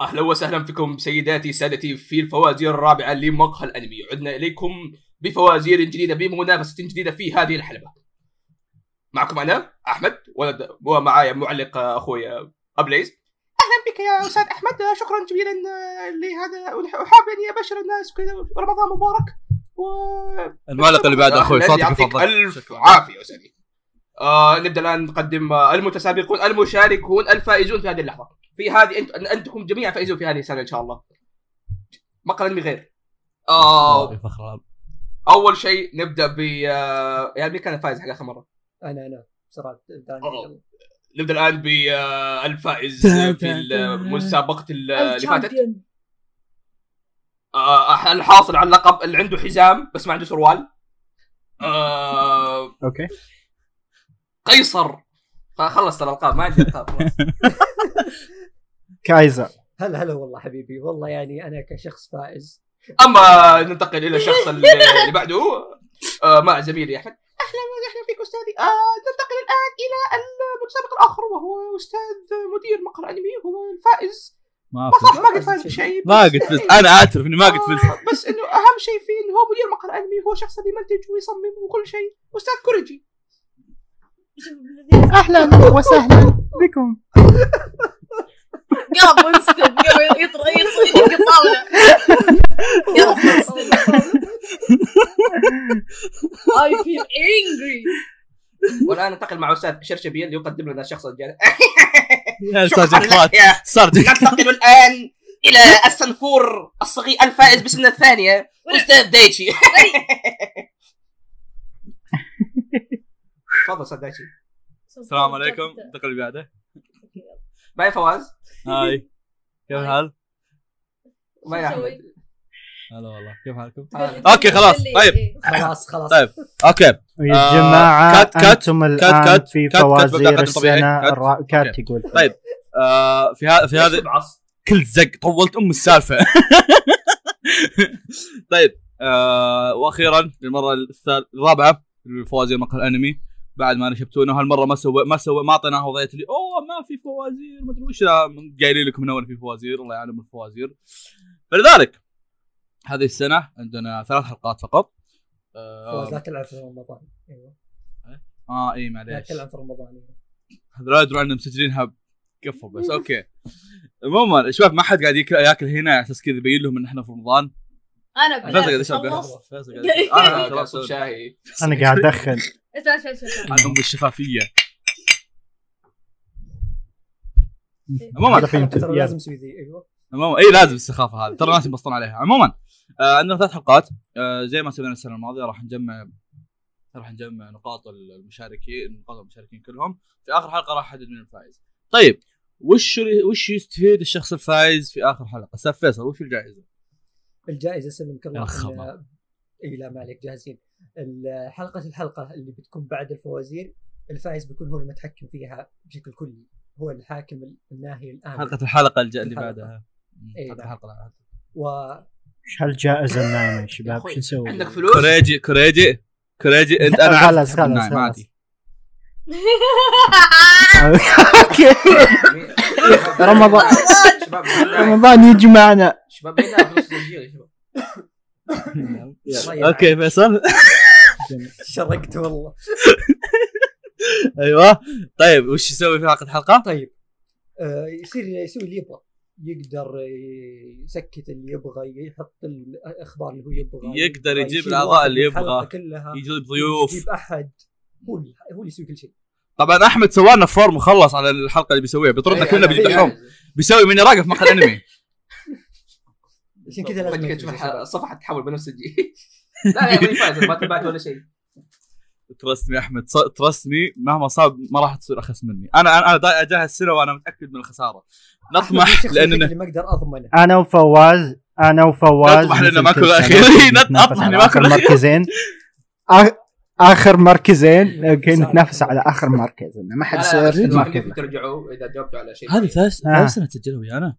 اهلا وسهلا بكم سيداتي سادتي في الفوازير الرابعه لمقهى الانمي عدنا اليكم بفوازير جديده بمنافسه جديده في هذه الحلبه معكم انا احمد ولد ومعايا معلق اخوي ابليز اهلا بك يا استاذ احمد شكرا جزيلا آه، لهذا وحاب اني ابشر الناس كذا رمضان مبارك و المعلق اللي بعد اخوي الذي صوتك يعطيك يفضل الف عافيه اسامي آه نبدا الان نقدم آه، المتسابقون المشاركون الفائزون في هذه اللحظه في هذه انت انتم جميعا فائزون في هذه السنه ان شاء الله مقهى الانمي غير آه يا فخر الأب. اول شيء نبدا ب آه، يعني مين كان الفائز حق اخر مره؟ انا انا بسرعه دعني أوه. يلا. نبدا الان بالفائز آه، في ال- مسابقه ال- اللي فاتت الشامبيون. آه، الحاصل على اللقب اللي عنده حزام بس ما عنده سروال آه، اوكي قيصر خلصت الالقاب ما عندي القاب خلاص كايزر هلا هلا والله حبيبي والله يعني انا كشخص فائز اما ننتقل الى الشخص اللي اللي بعده آه، مع زميلي احمد اهلا وسهلا فيك استاذي آه، ننتقل الان الى المتسابق الاخر وهو استاذ مدير مقر انمي هو الفائز ما ما صح فزت ما قد فاز بشيء ما بس- قد فزت انا اعترف اني ما قد فزت آه، بس انه اهم شيء فيه انه هو مدير مقر انمي هو شخص اللي يمنتج ويصمم وكل شيء استاذ كوريجي اهلا وسهلا بكم قام وينستن قام يطلع يصيد الطاوله يلا وينستن I feel angry والان ننتقل مع استاذ شرشبيل ليقدم لنا الشخص الجديد آه. يا استاذ اخوات يا صرت ننتقل الان الى السنفور الصغير الفائز باسم الثانيه استاذ دايتشي تفضل استاذ دايتشي السلام عليكم الدقيقه اللي بعده معي فواز هاي كيف الحال؟ معي احمد هلا والله كيف حالكم؟ اوكي خلاص طيب خلاص خلاص طيب. اوكي يا آه، جماعه كات، كات، انتم كات، الان كات، في كات، ببدأ فوازير أقدم طبيعي. السنه كات. الرا- كات أوكي. يقول طيب. آه، في هذا في هذا كل زق طولت ام السالفه طيب آه واخيرا للمره الثال- الرابعه في فوازير مقهى الانمي بعد ما نشبتونا هالمره ما سوى ما سوى ما اعطيناه وضعيه اللي اوه ما في فوازير ما ادري وش لا، قايلين لكم من اول في فوازير الله يعلم الفوازير فلذلك هذه السنه عندنا ثلاث حلقات فقط خلاص لا اه, تلعب في رمضان ايوه آه اي لا معليش تلعب في رمضان أيوة. هذا لا يدرون انهم مسجلينها قفل بس اوكي عموما شباب ما حد قاعد ياكل- ياكل هنا على اساس كذا يبين لهم ان احنا في رمضان انا فيصل قاعد بالله يشرب آه، خلصت فيصل قاعد قاعد- يشرب. أنا قاعد آه، خلاص أشرب. شاهي انا قاعد ادخن اسمع اسمع اسمع عن ام الشفافيه عموما هذا فيلم ترى تبيان. لازم اسوي ذي ايوه عموما اي إيه، لازم السخافه هذه ترى الناس ينبسطون عليها عموما آه عندنا ثلاث حلقات آه زي ما سوينا السنه الماضيه راح نجمع راح نجمع نقاط المشاركين نقاط المشاركين كلهم في اخر حلقه راح احدد من الفائز طيب وش وش يستفيد الشخص الفائز في اخر حلقه استاذ فيصل وش الجائزه؟ الجائزه سلمك الله يا إن- خبر. اي لا ما عليك جاهزين ال- حلقه الحلقه اللي بتكون بعد الفوازير الفائز بيكون هو المتحكم فيها بشكل كلي هو الحاكم ال- الناهي الان حلقه الحلقه الج- اللي الحلقة. بعدها إي حلقه نعم. الحلقه وهذا هل جائزه النايمه يا شباب شو نسوي؟ عندك فلوس كوريجي كوريجي كوريجي انت انا عارف خلاص، تحب النايم، خلاص، خلاص. نعم، عادي اوكي رمضان. شباب رمضان يجمعنا شباب هنا فلوس تسجيل يا شباب يلا. اوكي فيصل شرقت والله ايوه طيب وش يسوي في حلقه الحلقه؟ طيب آه، يصير يسوي اللي يبغى يقدر يسكت اللي يبغى يحط الاخبار اللي هو يبغى يقدر يجيب يشيل الأعضاء واحد اللي من يبغى. الحلقة كلها يجيب ضيوف يجيب احد هو اللي- هو اللي يسوي كل شيء طبعا احمد سوى لنا فورم مخلص على الحلقه اللي بيسويها بيطردنا أي- كلنا أي- بيجيب الحوم بيسوي مني راقب مقهى الانمي عشان فجأة كذا لازم تشوف يجيب الح- الشباب. الصفحه تتحول بنفس الجي لا لا ماني فايز ما تبعت ولا شيء ترست مي احمد ترست مي مهما صاب ما راح تصير اخس مني انا انا- انا دا- اجهز السنه وانا متاكد من الخساره نطمح الشخص الوحيد لاننا اللي ما اقدر اضمنه انا وفواز انا وفواز نطمح مثل لنا ماكو كل سنة الأخير. نتنافس نطمح على لنا ماكو آخر الأخير. مركزين آخ- اخر مركزين اوكي نتنافس على اخر مركز إنه ما حد أنا- يصير أنا- مركز ممكن ترجعوا اذا جاوبتوا على شيء هذه ثالث آه. ثالث سنه تسجلها ويانا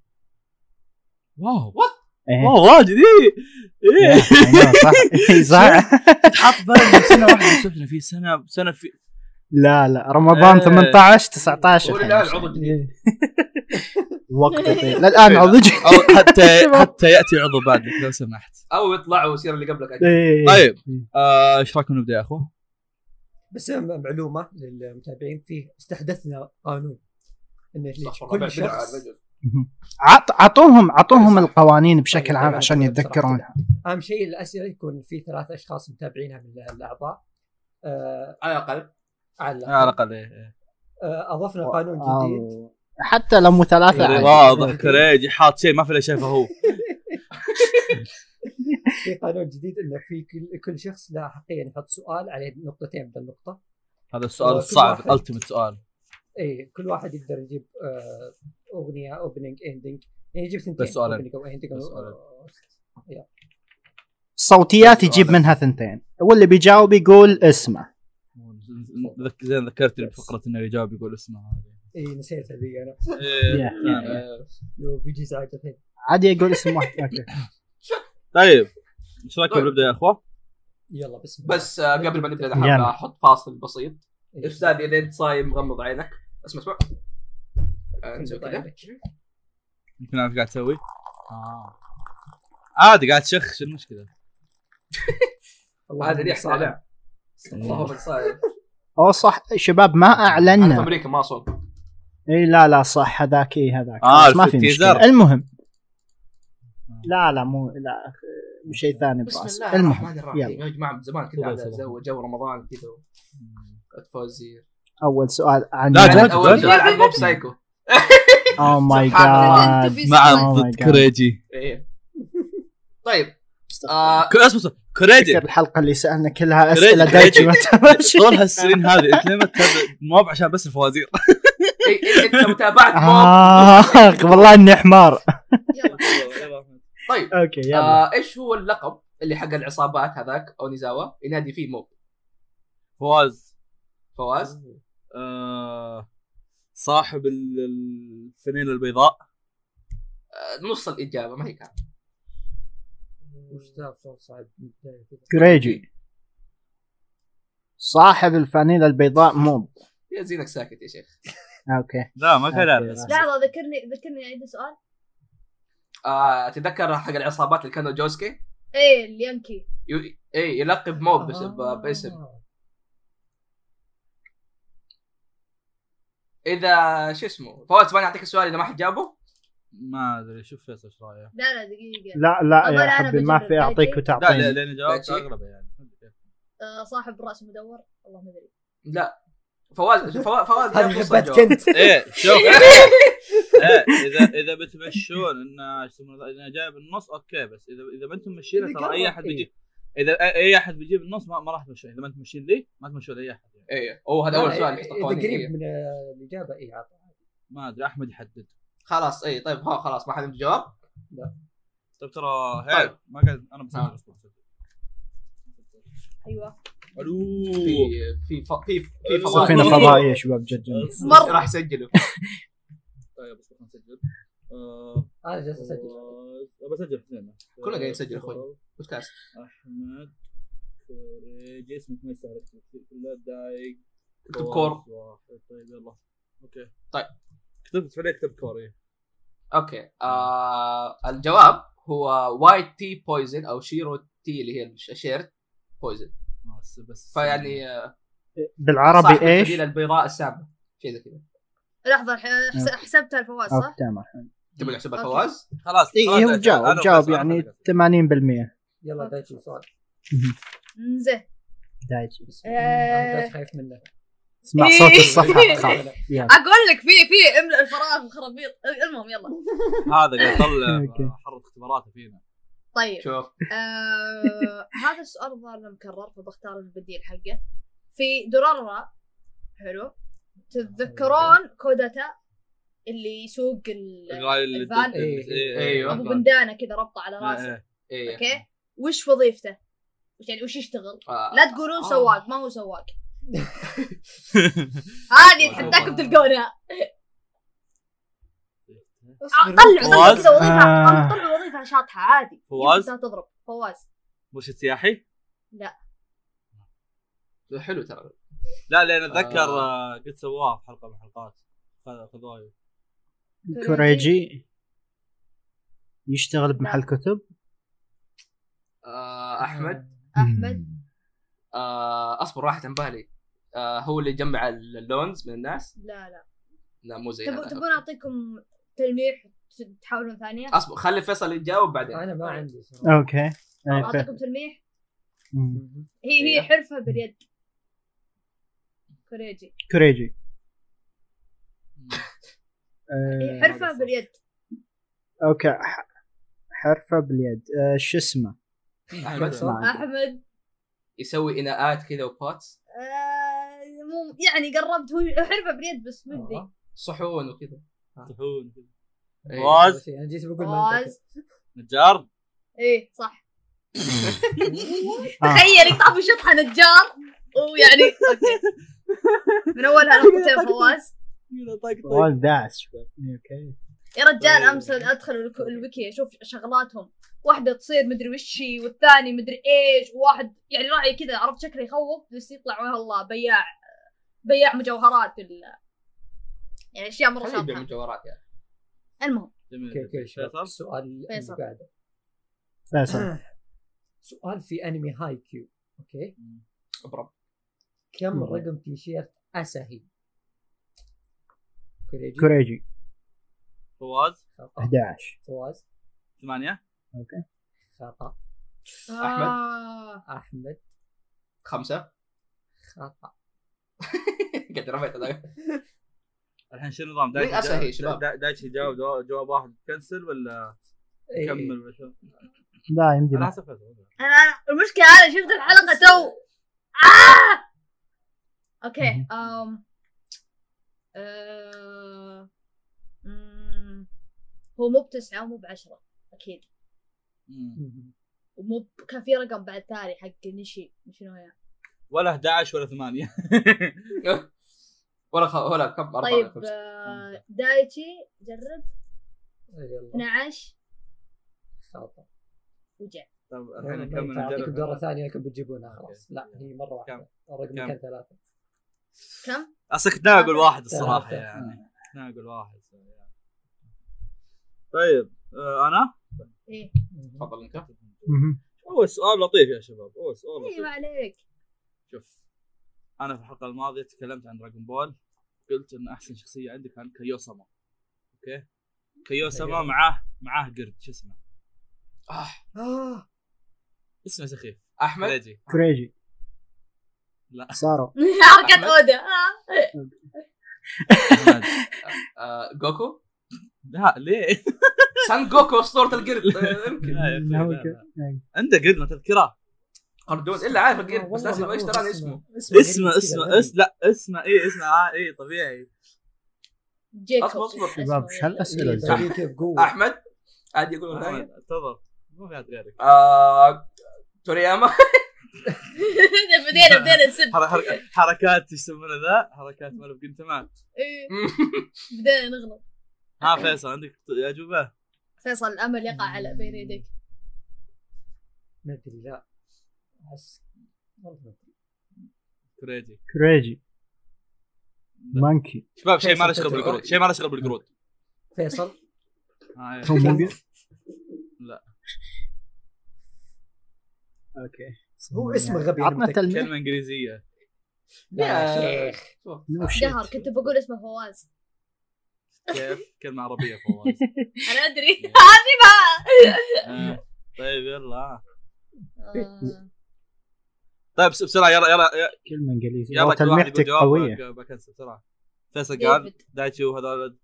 واو إيه. واو واجد ايه إيه، ايه أيوة، صح إيه، صح تحط بالك سنه واحده مسكنا في سنه سنه في لا لا رمضان إيه. 18 19 هو الحين. الآن عضو جديد. وقت طويل. للان عضو جديد. او حتى حتى ياتي عضو بعدك لو سمحت او يطلع ويصير اللي قبلك أجل. إيه. طيب آه، ايش رايكم نبدا يا اخو؟ بس م- معلومه للمتابعين فيه استحدثنا قانون ان صح والله، كل بعد بدعة شخص الرجل. عط عطوهم عطوهم صح. القوانين بشكل عام طيب، عشان طيب، يتذكرونها اهم شيء الاسئله يكون في ثلاث اشخاص متابعينها من الاعضاء آه على الاقل على على الاقل إيه، إيه. آه اضفنا قانون جديد أو- حتى لو مو ثلاثه يعني. يعني عادي. واضح كريجي حاط شيء ما في الا شايفه هو في قانون جديد انه في كل, كل شخص له حقيا يحط سؤال عليه نقطتين بدل نقطه هذا السؤال كل الصعب واحد. التمت سؤال اي إيه، كل واحد يقدر يجيب آه اغنيه اوبننج اندنج يعني يجيب ثنتين بس سؤالين. opening أو ending أو- آه، بس سؤالين. الصوتيات السؤال. يجيب منها ثنتين واللي بيجاوب يقول اسمه ذك- زين ذكرتني بفقره انه اللي جاوب يقول اسمه هذا اي نسيت هذه انا إيه، يا- نعم، يا- إيه. لو بيجي ساعات الحين عادي يقول اسم واحد أوكي. طيب ايش رايكم طيب. نبدا يا اخوه؟ يلا بسم الله بس آه، قبل ما نبدا يلا. الحلقه احط فاصل بسيط إيه. استاذ اذا انت صايم غمض عينك اسمع اسمع آه، نسوي كذا يمكن عارف قاعد تسوي؟ آه. عادي قاعد تشخ شو المشكله؟ اللهم هذا ريح صل. لا اللهم صايم او صح شباب ما انا في اعلنا امريكا ما صوم اي لا لا صح هذاك اي هذاك آه، خلاص ما في في التيزر. مشكله المهم لا لا مو لا أخ- شيء ثاني براسي بسم الله المهم الرحمن الرحيم يلا. يا جماعه من زمان كذا صباح قاعد صباح. اتزوج جو رمضان كذا اتفوزير اول سؤال عن لا، جد، اول جد. سؤال عن موب سايكو او ماي سبحان الله. جاد مع ضد كريجي إيه. طيب آه، ك- اسمع اسمع كريجي تذكر الحلقه اللي سالنا كلها كريجي، اسئله كريجي. دايتشي وتماشي طول هالسنين هذه انت ليه ما تتابع موب عشان بس الفوازير إيه، إيه، انت متابعت موب آه والله اني حمار يلا طيب اوكي يلا آه، ايش هو اللقب اللي حق العصابات هذاك اونيزاوا ينادي فيه موب فواز فواز آه، صاحب ال- الفنيله البيضاء آه، نص الاجابه ما هي كانت وش ذا صوت صعب من البداية كذا. كريجي صاحب الفانيلا البيضاء موب يا زينك ساكت يا شيخ اوكي لا ما كان أوكي. عارف اسمه. لحظه ذكرني ذكرني عندي سؤال آه، تتذكر حق العصابات اللي كانوا جوسكي ايه اليانكي ي- ايه يلقب موب بس- ب- باسم آه. اذا شو اسمه فواز ما اعطيك السؤال اذا ما حد جابه ما ادري شوف فيصل ايش رايه لا لا دقيقه لا لا أول يا أنا حبي ما بجيب في اعطيك الكريجي. لا لا، وتعطيني لان جاوبت ماشي. اغلبها يعني آه، صاحب راس مدور والله ما ادري لا فواز فواز فواز جاب هذه نص حبتك الجواب. انت ايه شوف ايه اذا اذا بتمشون انه إيش يسمونه ذا- انه جايب النص اوكي بس اذا اذا ما انتم ماشيين إذا ترى قرب، اي احد إيه. بيجيب اذا أي- اي احد بيجيب النص ما, ما راح تمشون اذا ما انتم ماشيين لي ما تمشون لاي احد يعني. ايه هو هذا اول آه، سؤال يحط اذا قريب قوانين إيه. من آه، الاجابه اي عطى ما ادري احمد يحدد خلاص ايه طيب ها خلاص ما حد عنده جواب طيب ترى طيب. هي ما قاعد انا بسجل آه. بس ايوه الو في في ف- في في سفينه فضاء فضاء. فضائيه شباب جد جميل مرة. راح اسجله طيب بس خلنا نسجل آه، انا جالس اسجل بسجل اثنين كلنا قاعدين نسجل أخوي. بودكاست احمد كوريجي اسمك ما يستاهل كله دايق اكتب كور واحد طيب يلا اوكي طيب. كتبت عليه كتب كور إيه. اوكي آه الجواب هو وايت تي بويزن او شيرو تي اللي هي الش- الشيرت بويزن آه، بس- بس فيعني آه، صاحب بالعربي ايش؟ الفضيلة البيضاء السامه شيء زي كذا لحظه ح- حس- حسبتها الفواز أوكي، صح؟ تمام تبغى نحسبها أوكي. فواز خلاص خلاص، اي إيه، هو أنا- جاوب أنا جاوب خلاص، أنا يعني خلاص. 80% يلا دايتشي سؤال زين دايتشي بسم الله. أنا دايتشي خايف منه اسمع صوت الصفحه خاف يلا. اقول لك في في املا الفراغ وخرابيط المهم يلا هذا قاعد أوكي. يطلع حرة اختباراته فينا طيب شوف آه، هذا السؤال الظاهر إنه مكرر فبختار البديل حقه في دورارا حلو تتذكرون كوداتا اللي يسوق ال- الراي اللي- الفان. إيه، إيه، إيه. ابو أيوة. بندانه كذا ربطه على آه، راسه إيه. ايه اوكي وش وظيفته؟ وش يعني وش يشتغل؟ آه، لا تقولون آه. سواق ما هو سواق هذه والله. اتحداكم تلقونها اصبر طلع طلع فواز؟ كذا وظيفه آه. طلع- طلع وظيفه شاطحه عادي فواز؟ يمكن تضرب فواز مرشد سياحي حلو ترى لا لان اتذكر آه، قد سواه في حلقه من الحلقات خذ- خذوه كوريجي يشتغل بمحل كتب آه، احمد احمد آه، اصبر راحت عن بالي آه، هو اللي يجمع اللونز من الناس لا لا لا مو زي تبون هذا. تبون اعطيكم تلميح ت- تحاولون ثانيه اصبر خلي فيصل يتجاوب بعدين انا ما عندي صراحه اوكي إيه، ف- اعطيكم تلميح مم. مهم. هي هي حرفه باليد كوريجي كوريجي هي آه، حرفه باليد اوكي ح- حرفه باليد آه، شو اسمه؟ احمد ما عندي. احمد يسوي اناءات كذا وبوتس آه مو يعني قربت هو حرفه باليد بس مدري آه. صحون وكذا طحون إيه. واز. بس انا جيت بقول ما فواز أنت- نجار ايه صح آه. تخيل يقطع شطحه نجار ويعني اوكي من اولها نقطتين فواز آه، والله داعس شوي. إيه، اوكي يا رجال طيب. امس ادخل الك- الويكي اشوف شغلاتهم واحده تصير مدري وشي والثاني مدري ايش وواحد يعني راعي كذا عرفت شكله يخوف بس يطلع والله بياع بياع مجوهرات ال- يعني اشياء مره خليه يبيع شاطحه مجوهرات يعني المهم جميل اوكي اوكي شباب، فيصل السؤال اللي فيصل. بعده فيصل سؤال في انمي هاي كيو اوكي اضرب كم مم. رقم تيشيرت اساهي كوريجي كوريجي فواز خطا 11 فواز ثمانية اوكي خطا أحمد؟ آه. احمد خمسه خطا قد رميت هذاك الحين شو النظام مين أسهل يا شباب؟ دا- دايتشي جاوب جوا- جواب واحد كنسل ولا إيه. كمل ولا شو؟ لا يمدي على حسب فيصل. انا انا المشكله انا شفت الحلقه تو آه! اوكي أم. آه. أمم. هو مو بتسعه ومو بعشره اكيد مم. مهم. ومو ب- كان في رقم بعد ثاني حق نشي شنو هي ولا 11 ولا 8 ولا خ... ولا كم أربعة ولا طيب خمسة. آه، دايتشي جرب نعم. يلا 12 خطا وجع طب الحين نكمل اعطيكم نجرب. دورة ثانية لكم بتجيبونها خلاص لا هي مرة واحدة الرقم كم؟ كان ثلاثة كم؟ اصلا كنت ناوي اقول واحد الصراحه ثلاثة. يعني كنت ناوي اقول واحد طيب آه، انا ايه مهم. تفضل انت مهم. اول سؤال لطيف يا شباب اول سؤال ايه ما لطيف عليك شوف انا في الحلقه الماضيه تكلمت عن دراجون بول قلت ان احسن شخصيه عندي كان كيوسما اوكي كيوسما أيوة. معاه معاه قرد شو اسمه آه، آه، اسمه سخيف احمد كريجي كوريجي لا. صاروا حركات أحمد؟ اودا آه. آه، جوكو لا ليه؟ سان جوكو اسطوره القرد آه، يمكن لا يا أخي، لا، أوكي. لا. عنده قرد ما تذكره قردون الا عارف القرد بس آه، لازم والله ايش معروف تراني اسمه غريب اسمه كذا، اسمه غريب. اس لا اسمه ايه اسمه آه، ايه طبيعي جيكوب اصبر اصبر شباب شو الاسئله إيه، الزرقاء؟ طريقة كيف قوة احمد عادي يقول أحمد، الثاني تفضل ما في احد غيرك آه، تورياما بدينا بدينا نسب حر- حر- حركات ايش يسمونه ذا حركات مالف قلت ما إيه، بدينا نغلط ها فيصل عندك اجوبه فيصل الامل يقع على بين يديك ما ادري لا احس والله ما أدري. كريجي كوريجي مانكي شباب شيء ما له شغل بالقرود شيء ما له شغل بالقرود فيصل آه، هو إيه. موجود؟ لا. اوكي هو اسمه غبي أنا يعني عطنا متأكد. تلميح كلمه انجليزيه لا شيخ No shit. دهر كنت بقول اسمه فواز كيف كلمه عربيه فواز انا ادري هذه ما آه، طيب يلا آه، طيب بس- بسرعه يلا يلا كلمه انجليزيه يلا والله كل واحد يقول تلميحتك قويه جواب بكنسل بسرعه فيصل قال ديفيد. دايتشي وهذول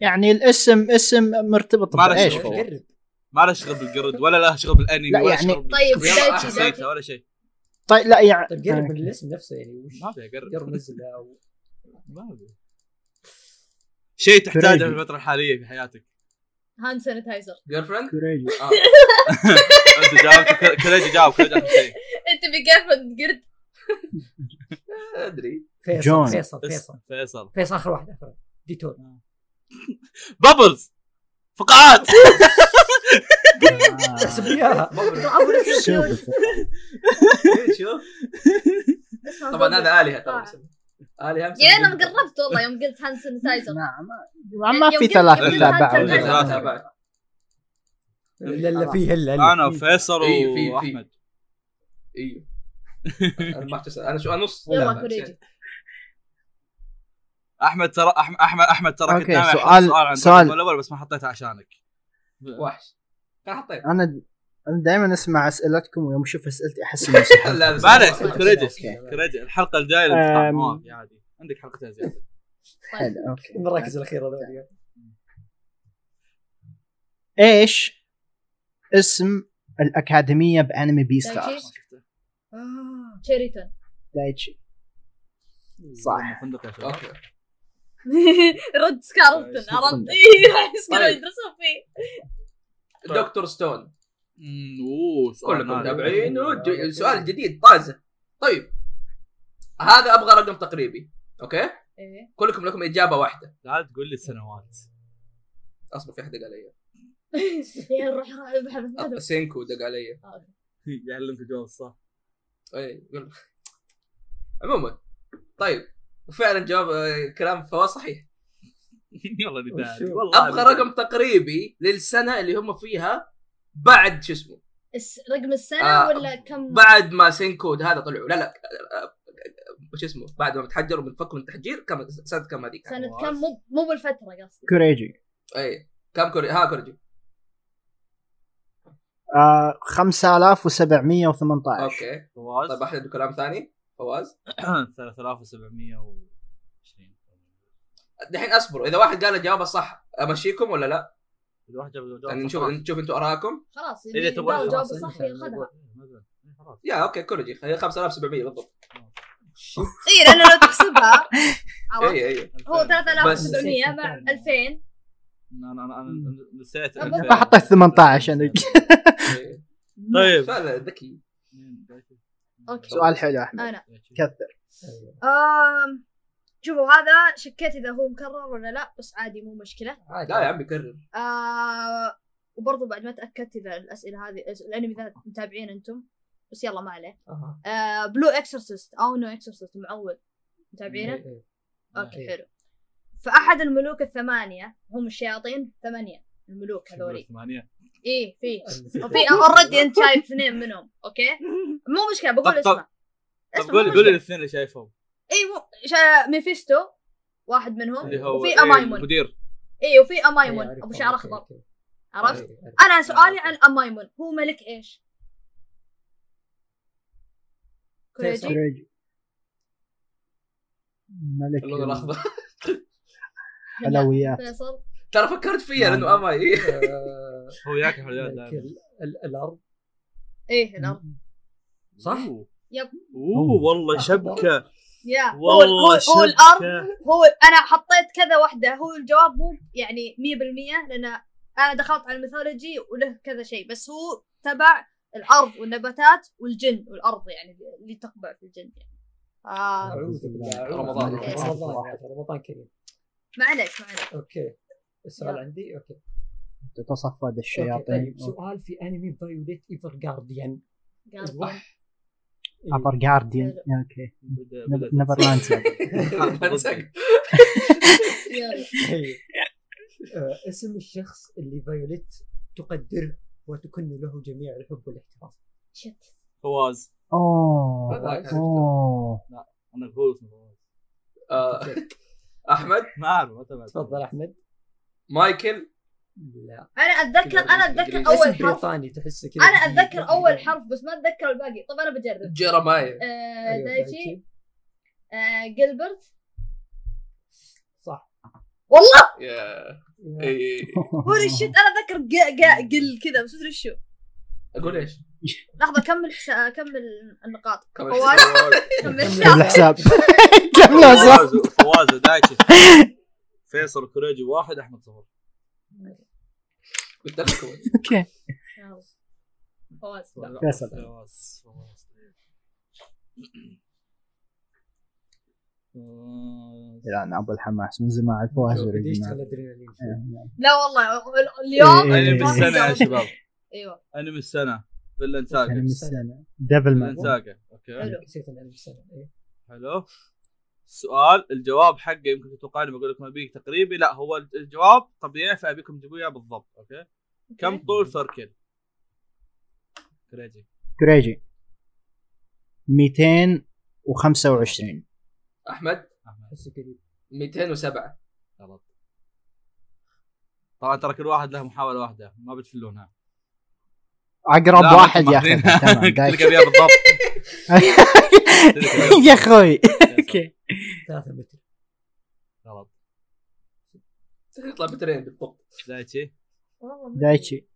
يعني الاسم اسم مرتبط ما له بايش شغل. فوق؟ طيب، قرب ما له شغل بالقرد ولا له شغل بالانمي لا، ولا يعني- شغل بال- طيب يلا، دايتشي شخصيته دايتشي ولا شيء طيب لا يعني طيب قرب من الاسم نفسه يعني وش نعم. ما في قرد يرمز له أو- ما في. شيء تحتاجه في كريجي. الفتره الحاليه في حياتك هاند سانيتايزر جيرل فريند كوريجي آه، انت جاوبت كل- كريجي جاوب كريجي اخر شيء انت بقرفة قرد ادري فيصل جون. فيصل فيصل اسم فيصل فيصل اخر واحد اخر واحد. آه. ديتور بابلز فقاعات احسب لي اياها ما أدري. أول اسم. شوف إيه، شوف اسمه طبعا بوبي. هذا الهه ترى آه. بس- الهه أمس- يا انا قربت والله يوم قلت هاند سانيتايزر نعم ما في يوم قلت- ثلاثة يوم قلت تابعوا هاند لا، لا، سانيتايزر. لا، بعد. لا لا فيه الا انا وفيصل في- في- واحمد ايوه انا ما أحتسب. انا شو انا نص لا، يلا لا، كوريجي احمد ترى أح- احمد احمد ترى كنت أوكي، ناوي أحط سؤال- سؤال عن سؤال. الجزء الاول بس ما حطيته عشانك وحش كان طيب. حطيت انا انا دائما اسمع اسئلتكم ويوم اشوف اسئلتي احس اني مسحت. لا، لا، معليش لا، لا. كريدت أوكي. كريدت الحلقه الجايه الانتقام أم. ما في عادي عندك حلقتين زياده طيب. حلو، أوكي. المراكز الاخيره ذولي ايش طيب. اسم الاكاديميه بانمي بي ستار؟ دايتشي؟ آه. تشيريتون دايتشي صح. فندق يا شباب اوكي رد سكارلتون عرفت؟ إيه، راح يسكرون يدرسون فيه دكتور ستون أمم، اوه سؤال كلكم نار. متابعين وج- سؤال جديد طازه طيب هذا ابغى رقم تقريبي اوكي إيه. كلكم لكم اجابه واحده لا تقول لي السنوات اصبر في إيه؟ احد دق علي يا روح روح ابحث أط- ابحث أه، سينكو دق علي يعلمك الجواب الصح اي يلا. عموما طيب وفعلا جواب آه، كلام فواز صحيح يلا نتاهل وشو؟ والله ابغى نتاهل. رقم تقريبي للسنه اللي هم فيها بعد شو اسمه الس- رقم السنه آه، ولا كم بعد ما سينكود هذا طلعوا لا لا آه، آه، آه، شو اسمه بعد ما تحجروا من فكوا من التحجير كم سنه كم هذيك سنه كم مو مو بالفتره قصدي كوريجي اي إيه، كم كوري ها كوريجي آه 5718 اوكي فواز طيب احد عنده كلام ثاني فواز 3720 دحين اصبروا اذا واحد قال جوابه صح امشيكم ولا لا؟ اذا واحد جاب الجواب يعني صح، نشوف خلاص. نشوف انتم ارائكم خلاص إذا اللي تبغى جاب الجواب خلاص، الصح إنت- ياخذها إيه، ما أدري. إيه، خلاص يا اوكي كوريجي خلي 5700 بالضبط اي لان إيه، لو تحسبها عرفت؟ اي اي هو إيه. بس. 3700 مع 2000 انا انا انا نسيت أبغى- ما حطيت 18 انا إي. طيب فعلا ذكي أوكي. سؤال حلو احمد انا كثر طيب، آم، شوفوا هذا شكيت اذا هو مكرر ولا لا بس عادي مو مشكله عادي لا يا عمي كرر آه وبرضه بعد ما تاكدت اذا الاسئله هذه الانمي ذا متابعين انتم بس يلا ما عليه أها. آه بلو اكسورسيست او نو اكسورسيست معول متابعينه إيه. اوكي حلو فاحد الملوك الثمانيه هم الشياطين ثمانيه الملوك هذولي ثمانية ايه في إيه. وفي اوريدي انت شايف اثنين منهم اوكي مو مشكله بقول طب- طب- اسمه طب اسمه قول مو قول مشكلة. الاثنين اللي شايفهم اي مو شا... ميفيستو واحد منهم اللي هو وفي إيه، امايمون المدير اي وفي إيه، امايمون أعرفهم. ابو شعر أوكي، اخضر أوكي. عرفت إيه، إيه. انا سؤالي عن امايمون هو ملك ايش كوريجي كوريجي ملك اللون الاخضر حلويات فيصل ترى فكرت فيها لانه اما إيه. آه، هو ياكل حلويات ملك دائما ال- ال- الارض ايه الارض صح؟ أوه. يب. اوه والله شبكة يا هو, ال- هو, والله هو الارض شبكة هو انا حطيت كذا واحده هو الجواب مو يعني 100% لان انا دخلت على الميثولوجي وله كذا شيء بس هو تبع الارض والنباتات والجن والارض يعني اللي تقبع في الجن يعني آه اعوذ بالله أعوذ رمضان. بالله. أوكي. رمضان يا أخي، رمضان كريم معليش معليش اوكي السؤال يلا. عندي اوكي أوكي، تتصفد الشياطين طيب سؤال في انمي فايوليت ايفر جارديان قاعد إيه. ابر جارديان اوكي بدأ- بدأ نيفر لاند بنسق. يلا. طيب. آه، اسم الشخص اللي فايوليت تقدره وتكن له جميع الحب والاحترام شت فواز اوه هذاك. اوه انا هو اسمه فواز آه، احمد ما اعرف ما تابعت تفضل احمد مايكل لا انا اتذكر انا اتذكر بالإنجليزي. اول اسم حرف بريطاني تحسه كذا انا اتذكر اول حرف بس ما اتذكر الباقي طب انا بجرب جيرمايا آه أيوة، دايتشي آه جيلبرت صح والله يا- يا- إي. هوري شت انا اتذكر جا جا جل كذا بس ادري شو اقول ايش؟ لحظه كمل حسا... كمل النقاط كمل. فواز كمل كم الشاطر. الحساب كم الحساب فواز فواز ودايتشي فيصل وكوريجي واحد احمد صفر قلت لكم اوكي فواز فيصل. فواز فواز فواز. لا انا ابو الحماس من زمان فواز بدي يشتغل وريجينال. ادرينالين إيه. لا والله ال- اليوم إيه. انمي ما في السنه يا جواب. شباب ايوه انمي السنه فيلاند أنا ساجا من السنه ديفل فيلاند مان ساجا اوكي حلو. نسيت انا من السنه إيه. حلو السؤال الجواب حقه يمكن تتوقعوني بقول لكم ابيك تقريبي لا هو الجواب طبيعي فابيكم تجيبوا اياه بالضبط اوكي كم إيه. طول ثوركين؟ كريجي كريجي 225 احمد أحمد. احسه قريب 207 غلط طبعا ترى كل واحد له محاوله واحده ما بتفلونها اقرب لا، ما واحد يا اخي تمحضينها. تمام تلقى دايش. بيها بالضبط يا اخوي اوكي اوكي 3 متر غلط يطلع طيب، بترين بالضبط دايتشي والله ما- دايتشي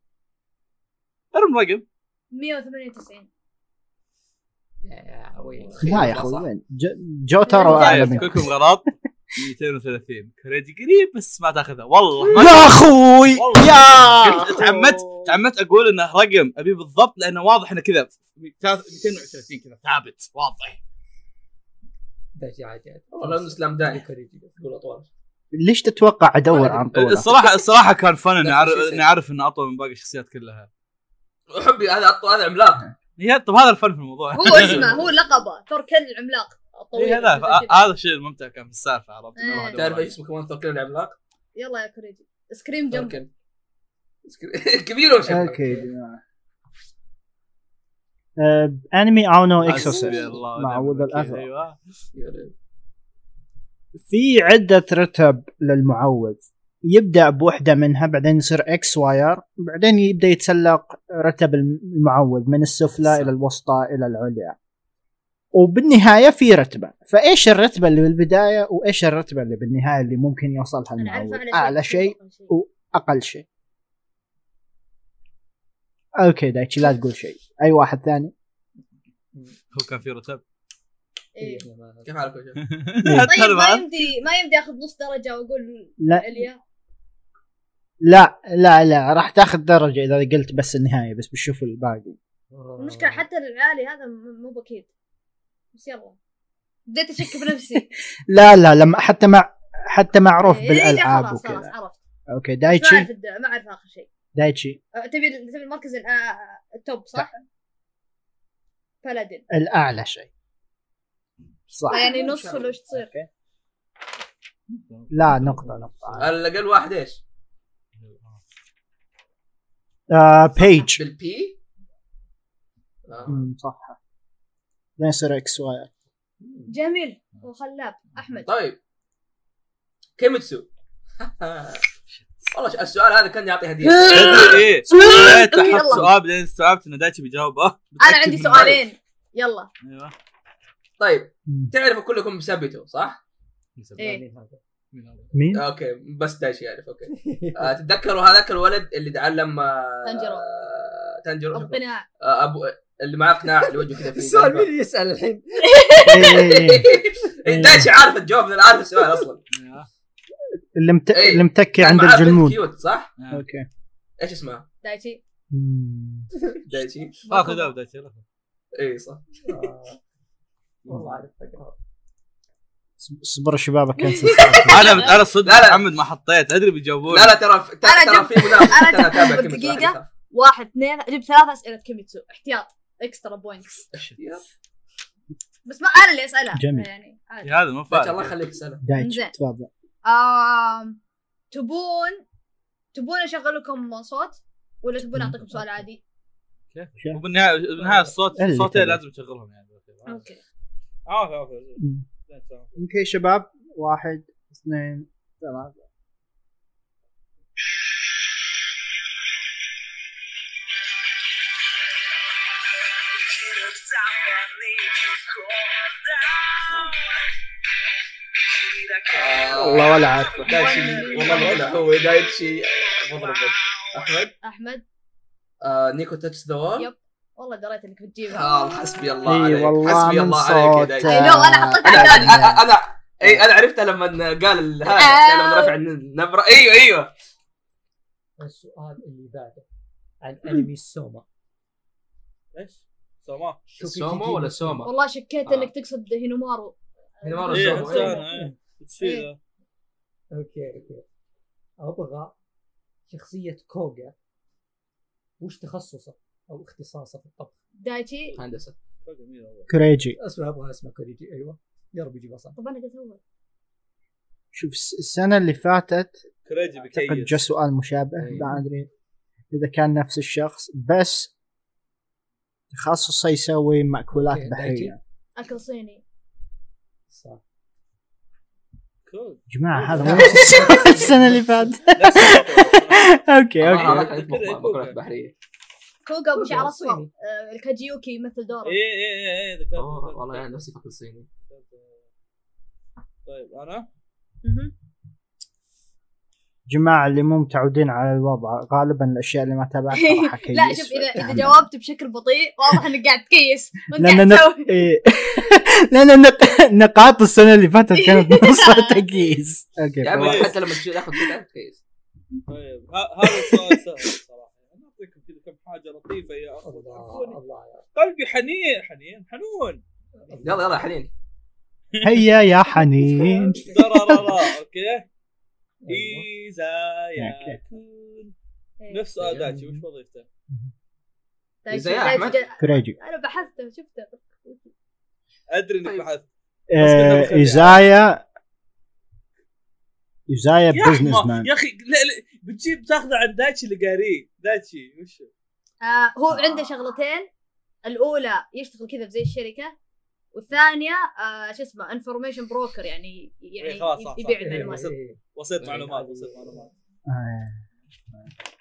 ارم رقم 198 لا يا اخوي وين جو- جو ترى اعلى طيب منك كلكم غلط 230 كريجي قريب بس ما تاخذها والله ما يا اخوي والله. يا قلت- تعمدت تعمدت اقول انه رقم ابي بالضبط لانه واضح انه كذا 230 كذا ثابت واضح دايتشي عادي عادي والله ابن اسلام داعي كوريجي يقول اطول ليش تتوقع ادور عن طوله الصراحه الصراحه كان فن اني نفس اعرف الشيء. اني اعرف انه اطول من باقي الشخصيات كلها احبي هذا أط- هذا عملاق هي طب هذا الفن في الموضوع هو اسمه هو لقبه ثوركين إيه العملاق الطويل هذا آه، ف- هذا الشيء الممتع كان في السالفه عرفت إنه إيه. واحد تعرف واحد. ايش اسمه كمان ثوركين العملاق؟ يلا يا كوريجي سكريم جمب ثوركين سكر- كبير ولا شيء؟ اوكي يا جماعه آه، انمي او نو حسبي اكسوسيست الله مع ونعم وذا الوكيل. الأثر. ايوه في عده رتب للمعوذ يبدا بوحده منها بعدين يصير اكس واير بعدين يبدا يتسلق رتب المعوذ من السفلى صح. الى الوسطى الى العليا وبالنهايه في رتبه فايش الرتبه اللي بالبدايه وايش الرتبه اللي بالنهايه اللي ممكن يوصلها انا عارفه المعوذ على اعلى شيء اقل شيء اوكي دايتشي لا تقول شيء اي واحد ثاني هو كان في رتب إيه. كيف حالك يا شيخ؟ طيب ما ترى يمدي ما يمدي اخذ نص درجه واقول لا اليا لا لا لا راح تاخذ درجه اذا قلت بس النهايه بس بتشوف الباقي المشكله حتى العالي هذا م- مو بكيد بس يلا بديت اشك بنفسي لا لا لما حتى مع حتى معروف إيه، بالالعاب خلاص خلاص وكذا عرفت اوكي ما اعرف دايتشي الد- ما اعرف اخر شيء دايتشي أه، تبي تبي المركز الآ- التوب صح؟ بلدن الاعلى شيء صح يعني نص ولا ايش تصير؟ لا نقطه نقطه الاقل واحد ايش؟ آه بيج بالبي؟ آه. أمم، صح بعدين يصير اكس واير جميل وخلاب احمد طيب كيميتسو والله السؤال هذا كان يعطي هديه ايه بديت احط طيب. يلا. سؤال بعدين استوعبت ان دايتشي بيجاوب اه انا عندي متأكد سؤالين يلا منه. ايوه طيب أمم. تعرفوا كلكم مسبتو صح؟ إيه. مين هذا؟ مين؟ اوكي بس دايش يعرف اوكي آه تتذكروا هذاك الولد اللي تعلم آه، تنجرو. آه، تنجرو شكراً. اقتناع آه، ابو اللي معاه قناع اللي وجهه كذا في السؤال مين اللي يسال الحين؟ إيه، إيه، إيه. دايش عارف الجواب انا عارف السؤال اصلا ايوه اللي مت- إيه. اللي متكي كان عند معاه بنت الجلمود كيوت صح؟ آه. اوكي ايش اسمها؟ دايتشي أمم. دايشي اخذ جواب دايتشي آه، يلا. اي إيه، صح آه. والله عارف أقرأ. صبر شبابك كنسل انا انا صدق لا، لا. محمد ما حطيت ادري بيجاوبون لا لا ترى في- أنا ترى جبت- في منافسه أنا ترى جبت تابع بالدقيقة. كيميتسو، لا تخاف. واحد اثنين جبت ثلاث اسئله كيميتسو احتياط اكسترا بوينتس بس ما انا اللي اسالها جميل. يعني عادي. يا إيه، هذا ما دايتش الله فاهم يخليك اساله دايتشي إنزين. تفضل آم، تبون تبون اشغل لكم صوت ولا تبون اعطيكم سؤال عادي؟ وبالنهايه بالنهايه الصوت اللي الصوتين تبي. لازم تشغلهم يعني اوكي عافية عافية أمم. اوكي شباب واحد اثنين ثلاثة والله ولا عارفه دايتشي والله الوضع هو دايتشي مضرب احمد احمد آه، نيكو تاتش ذا وول يب. والله دريت انك بتجيبها آه، حسبي الله عليك اي والله حسبي من آه، الله عليك يا دايتشي صوته I know، أنا حطيتها انا انا أنا- انا اي انا عرفتها لما قال ال- آه. هذا لما رفع النبره ايوه ايوه السؤال اللي بعده عن انمي السوما ايش؟ سوما سومو ولا سوما؟ والله شكيت آه. انك تقصد هينومارو هينومارو ايه سوما، حتى انا ايه إيه. تصير اوكي اوكي ابغى شخصية كوغا وش تخصصه؟ او اختصاصه في الطبخ دايتشي هندسه كوريجي اسمه ابغى اسمه كوريجي ايوه يا رب يجيبه صح طب انا قلت اول شوف الس- السنه اللي فاتت كريجي اعتقد بكيس جاء سؤال مشابه إيه. أيوة. ما ادري اذا كان نفس الشخص بس تخصصه يسوي مأكولات أوكي، دايتشي. بحريه اكل صيني صح كريجي. جماعه هذا مو نفس الس- السنه اللي فاتت نفس الشيء. اوكي آه. أنا اوكي هذاك اللي يطبخ مأكولات بحريه كوغا ابو شعر كوغا اصفر صيني. آه، الكاجيوكي مثل دوره اي اي اي اي إيه، ذكرت أوه، والله يعني نفسي فكر صيني طيب انا مهم. جماعه اللي مو متعودين على الوضع غالبا الاشياء اللي ما تابعتها راح يعني. اكيس لا شوف اذا اذا جاوبت بشكل بطيء واضح انك قاعد تكيس وانت لأن قاعد أنا- تسوي إيه. لان النق- نقاط السنه اللي فاتت كانت نصها تكييس اوكي يا عمي كويس. حتى لما تشيل اخذ كذا كويس طيب ه- هذا السؤال سهل صراحه أنا اعطيكم كذا كم حاجه لطيفه يا اخوان الله عفوني. الله يا قلبي حنين حنين حنون يلا يلا حنين هيا يا حنين درررا اوكي أيوة. ايزا يا كون طيب، نفس سؤال داتشي وش وظيفته؟ دايتشي- إزاي يا دايتشي أحمد؟ طيب، جا- كريجي انا بحثته شفته ادري انك طيب. بحثت آه، ايزايا ايزايا يا بزنس أحمد، مان يا اخي لا لا بتجيب تاخذه عن داتشي اللي قاريه داتشي وش آه هو عنده شغلتين الاولى يشتغل كذا في زي الشركه والثانيه آه شو اسمه انفورميشن بروكر يعني يعني إيه، خلاص، صح، صح. يبيع إيه، المعلومات وصلت. إيه، وسيط معلومات وسيط معلومات آه،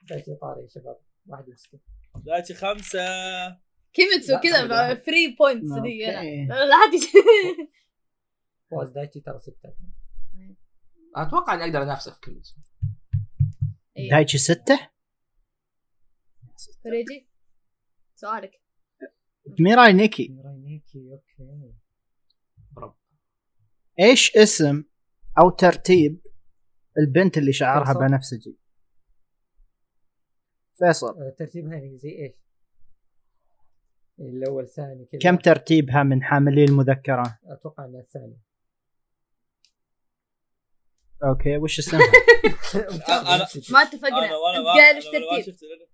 دايتشي طاري يا شباب واحد يمسكه داتشي خمسه كيميتسو لا، كذا لا. فري بوينتس دي لا أوكي. لا عادي فوز دايتشي ترى سته اتوقع اني اقدر انافسه في كلمه إيه. دايتشي ستة فريجي سؤالك ميراي نيكي راينيكي اوكي ايش اسم او ترتيب البنت اللي شعرها فيصل. بنفسجي فيصل آه، ترتيبها يعني زي ايش؟ الاول ثاني كذا كم ترتيبها من حاملي المذكرة اتوقع انها الثاني اوكي وش اسمها أنا- ما اتفقنا انا آه، وانا انت ما قال ايش أنا ولا ترتيب آه، شفت لأن-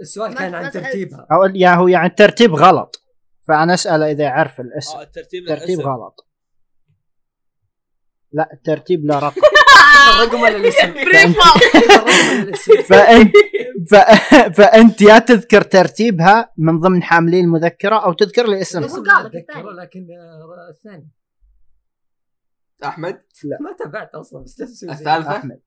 السؤال ما- كان ما عن سألت. ترتيبها او يا هو يعني الترتيب غلط فانا اساله اذا يعرف الاسم اه الترتيب الترتيب للاسم. غلط لا الترتيب لا رقم آه. الرقم ولا الاسم؟ بريفا الرقم ولا الاسم؟ فانت ف... فانت يا تذكر ترتيبها من ضمن حاملين المذكره او تذكر لي اسمها هو الاسم ما قال لك اتذكره الثاني. لكن آه، الثاني احمد ما تابعت اصلا بس لا تسوي زي- الثالثة؟ احمد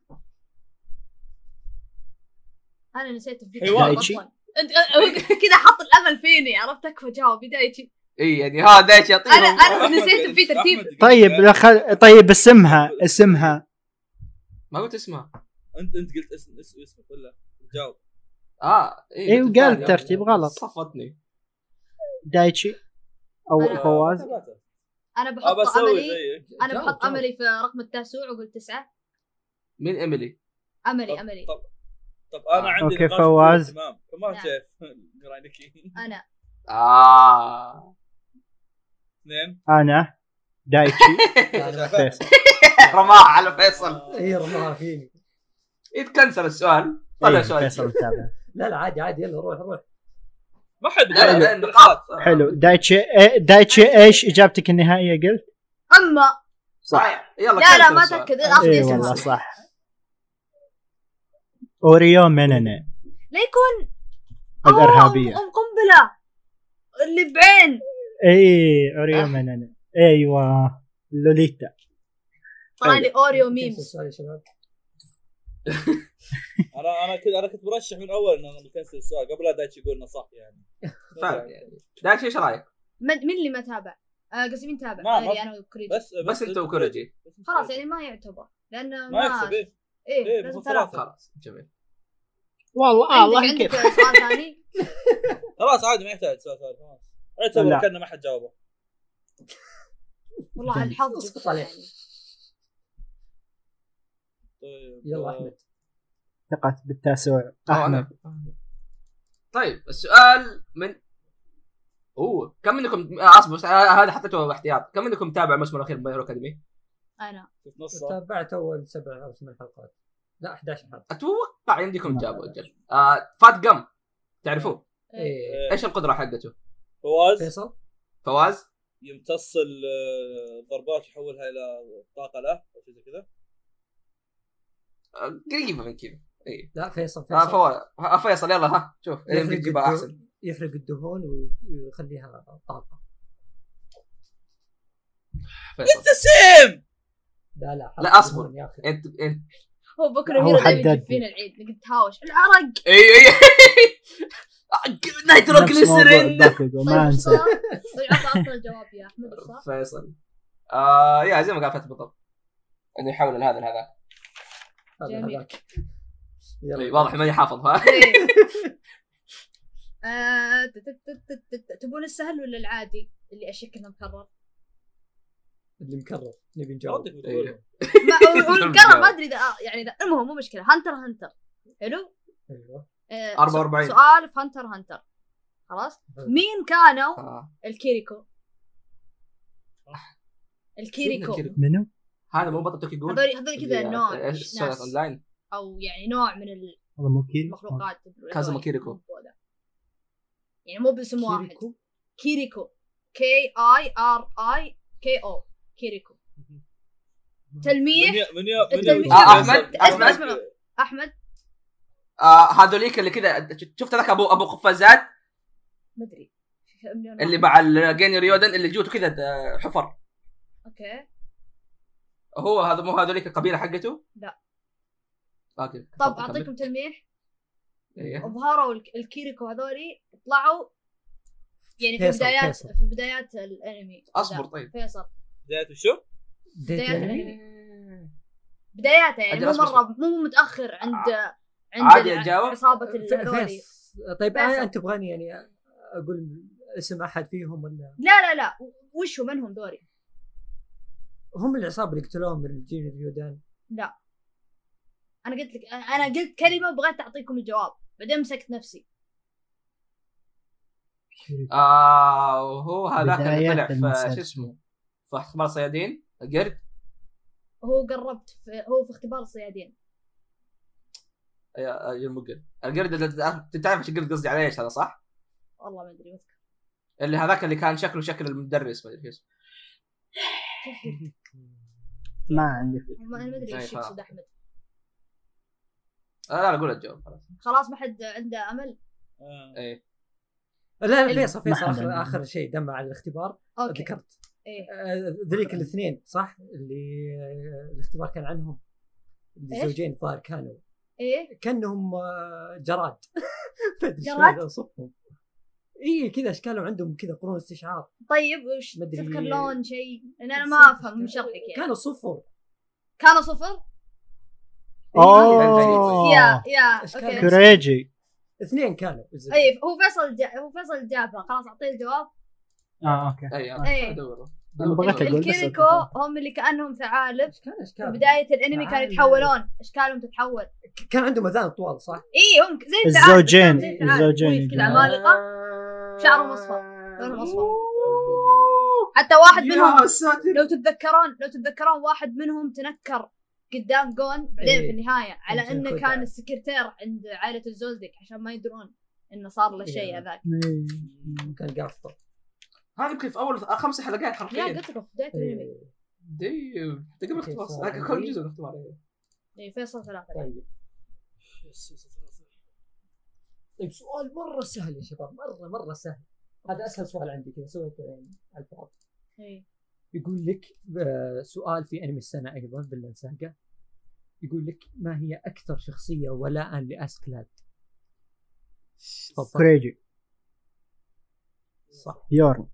انا نسيت أفكر أيوة. دايتشي؟ أصلاً. انت هو كذا حط الامل فيني عرفت اكفى جاوب دايتشي اي يعني ها دايش يعطيهم انا انا أحمد- نسيت في ترتيب أحمد، دقيقة. طيب لا خل... طيب اسمها اسمها ما قلت اسمها انت انت قلت اسم اسم اسمك ولا جاوب اه اي إيه، قلت وقال الثانية. ترتيب غلط. صفطني دايتشي او آه. أنا- فواز انا ابى بحط اسوي املي زيك انا آه، جاوب، بحط جاوب. املي في رقم التاسع واقول تسعه مين ايميلي؟ املي طب- املي طب طب انا آه، عندي أوكي، نقاش في فواز. الاهتمام كمان نعم. شايف راينكي انا اه اثنين انا دايتشي فيصل رماها على فيصل اي رماها فيني يتكنسل السؤال طلع إيه، سؤال فيصل متابع. لا لا عادي عادي يلا روح روح ما حد لا لا نقاط حلو دايتشي إيه، دايتشي ايش اجابتك النهائيه قلت؟ اما صحيح يلا لا لا كنسل ما السؤال. تاكد اخذ اي اسمها. إيه، والله صح اوريو مننه لا يكون أوه، الارهابيه آه. ام قنبله اللي بعين اي اوريو أح- مننه ايوه لوليتا طلع طيب. لي اوريو كيف ميمز السؤال يا شباب انا انا كنت انا كنت مرشح من اول انه نكنسل السؤال قبل لا دايتش يقول انه صح يعني فعلا يعني دايش ايش رايك؟ من مين اللي ما تابع؟ آه قصدي مين تابع؟ ما- ما- غيري انا وكريجي بس بس انت وكوريجي بس أنت خلاص وكوريجي. يعني ما يعتبر لانه ما يحسب إيه. إيه، ايه لازم مو ثلاثة. ثلاثة خلاص جميل والله عندك عندك سؤال ثاني؟ خلاص عادي ما يحتاج سؤال ثاني خلاص اعتبر لا. كانه ما حد جاوبه والله على الحظ اسقط عليه. يعني. طيب يلا آه، احمد ثقت بالتاسع أو احمد آه، أنا. طيب السؤال من اوه كم منكم آه، اصبر بس آه، هذا حطيته احتياط كم منكم تابع الموسم الاخير من هيرو اكاديمي؟ انا شفت نصه تابعت اول سبع او ثمان حلقات لا 11 حلقه اتوقع عندكم جابوا اجل آه فات قم تعرفوه طيب. إيه. ايش القدره حقته؟ فواز فيصل فواز يمتص الضربات يحولها الى طاقه له او شيء زي كذا آه، قريبه من كذا اي لا فيصل آه فيصل فواز آه، فيصل يلا ها شوف يحرق يمكن تجيبها الدهون- احسن يحرق الدهون ويخليها طاقه فيصل سيم لا لا لا، أصبر. الدهون يا أخي. انت انت هو بكره هو هو دائما حددني. يجيب فينا العيد نقعد نتهاوش العرق اي اي نفس موضوع نايتروجليسرين الدقيقة، ما طيب، انسى صار؟ طيب عطى عطنا الجواب يا احمد إيش صار؟ فيصل آه يا زي ما قال فتح بالضبط انه يحول هذا لهذا هذا جميل. هذاك. يلا. طيب، واضح ماني حافظ ها إيه. آه، ت- ت- ت- ت- ت- تبون السهل ولا العادي اللي اشك انه مكرر؟ اللي مكرر نبي نجاوب ردك بتقول ما هو- هو مكرر ما ادري اذا آه، يعني اذا المهم مو مشكله هانتر هانتر حلو؟ ايوه آه، 44. سؤال في هانتر هانتر خلاص؟ طيب. مين كانوا آه. الكيريكو الكيريكو منو؟ هذا مو بطل توكي جول هذول هذول كذا نوع ايش ناس اونلاين او يعني نوع من والله مو كيري المخلوقات كازما كيريكو. يعني مو باسم واحد كيريكو كيريكو كي اي ار اي كي او كيريكو من تلميح يا من يا من التلميح. يا آه، أحمد، إيه. اسمع اسمع احمد آه هذوليك اللي كذا شفت ذاك ابو ابو قفازات مدري مليون واحد. اللي مع الجيني ريودن اللي جوته كذا آه، حفر اوكي هو هذا مو هذوليك القبيله حقته؟ لا. اوكي طب اعطيكم تلميح إيه. ظهروا الك- الكيريكو هذولي طلعوا يعني في فيصل، بدايات فيصل. في بدايات الانمي اصبر لا، طيب فيصل بداية شو؟ ديت بدايات يعني؟ الانمي إيه. بداياته يعني أجل، مو أصبر، آه. مره مو متاخر عند عند عادي الع- أجاوب؟ عصابه ف- هذولي فيص طيب فيصل. انا انت تبغاني يعني اقول اسم احد فيهم ولا لا لا لا وش هو من هم دوري هم العصابه اللي قتلوهم من الجيل اليودان انا قلت لك انا قلت كلمه بغيت اعطيكم الجواب بعدين مسكت نفسي آه وهو هذاك اللي بداية طلع في المسلسل. شو اسمه في اختبار صيادين القرد هو قربت في هو في اختبار الصيادين يا- يا المقرد القرد اللي- تعرف ايش القرد قصدي عليه ايش هذا صح؟ والله ما ادري بس اللي هذاك اللي كان شكله شكل المدرس ما ادري ايش ما عندي فكرة. ما- انا ما ادري ايش طيب، ها. يقصد احمد آه، لا لا قول الجواب خلاص خلاص ما حد عنده امل آه. ايه لا لا الم- فيصل فيصل ما اخر, حد- آخر شيء دم على الاختبار اوكي ذكرت ايه آه، ذليك الاثنين صح اللي آه، الاختبار كان عنهم إيش؟ الزوجين الظاهر كانوا ايه كانهم آه، جراد ما أدري شلون جراد؟ اوصفهم اي كذا اشكالهم عندهم كذا قرون استشعار طيب وش مدري- تذكر لون شيء لان انا ما افهم من شرحك يعني كانوا صفر كانوا صفر يا اوه يا آه. إيش اوكي كان؟ كريجي اثنين كانوا بالزبط. ايه هو فيصل جا... هو فيصل جابها خلاص اعطيه الجواب اه اوكي اي إيه. ادور أنا بغيت أقول. بس الكيريكو أتفق. هم اللي كانهم ثعالب ايش كان في اشكالهم؟ بدايه الانمي طيب. كانوا ثعالب. يتحولون اشكالهم تتحول ك- كان عندهم اذان طوال صح؟ اي هم ك- زي الثعالب الزوجين زي الثعالب. الزوجين كذا عمالقه شعرهم أصفر. لونهم أصفر. حتى واحد منهم يا ساتر لو تتذكرون لو تتذكرون واحد منهم تنكر قدام جون بعدين إيه. في النهايه على كان انه كودا. كان السكرتير عند عائله الزولدك عشان ما يدرون انه صار له إيه. شيء هذاك كان قافطه هذا يمكن في اول خمس حلقات يا حرفيا قلت لكم في بدايه الانمي إيه، ديم انت قبل اختبار كيف هذا كان صار؟ جزء من الاختبار إيه. إيه، فيصل ثلاثه طيب طيب سؤال مره سهل يا شباب مره مره سهل هذا اسهل سؤال عندي كذا سويته يعني على الفاضي إيه. يقول لك آه، سؤال في انمي السنه ايضا باللنساقه يقول لك ما هي اكثر شخصيه ولاء لاسكلاد؟ تفضل. كريجي صح يور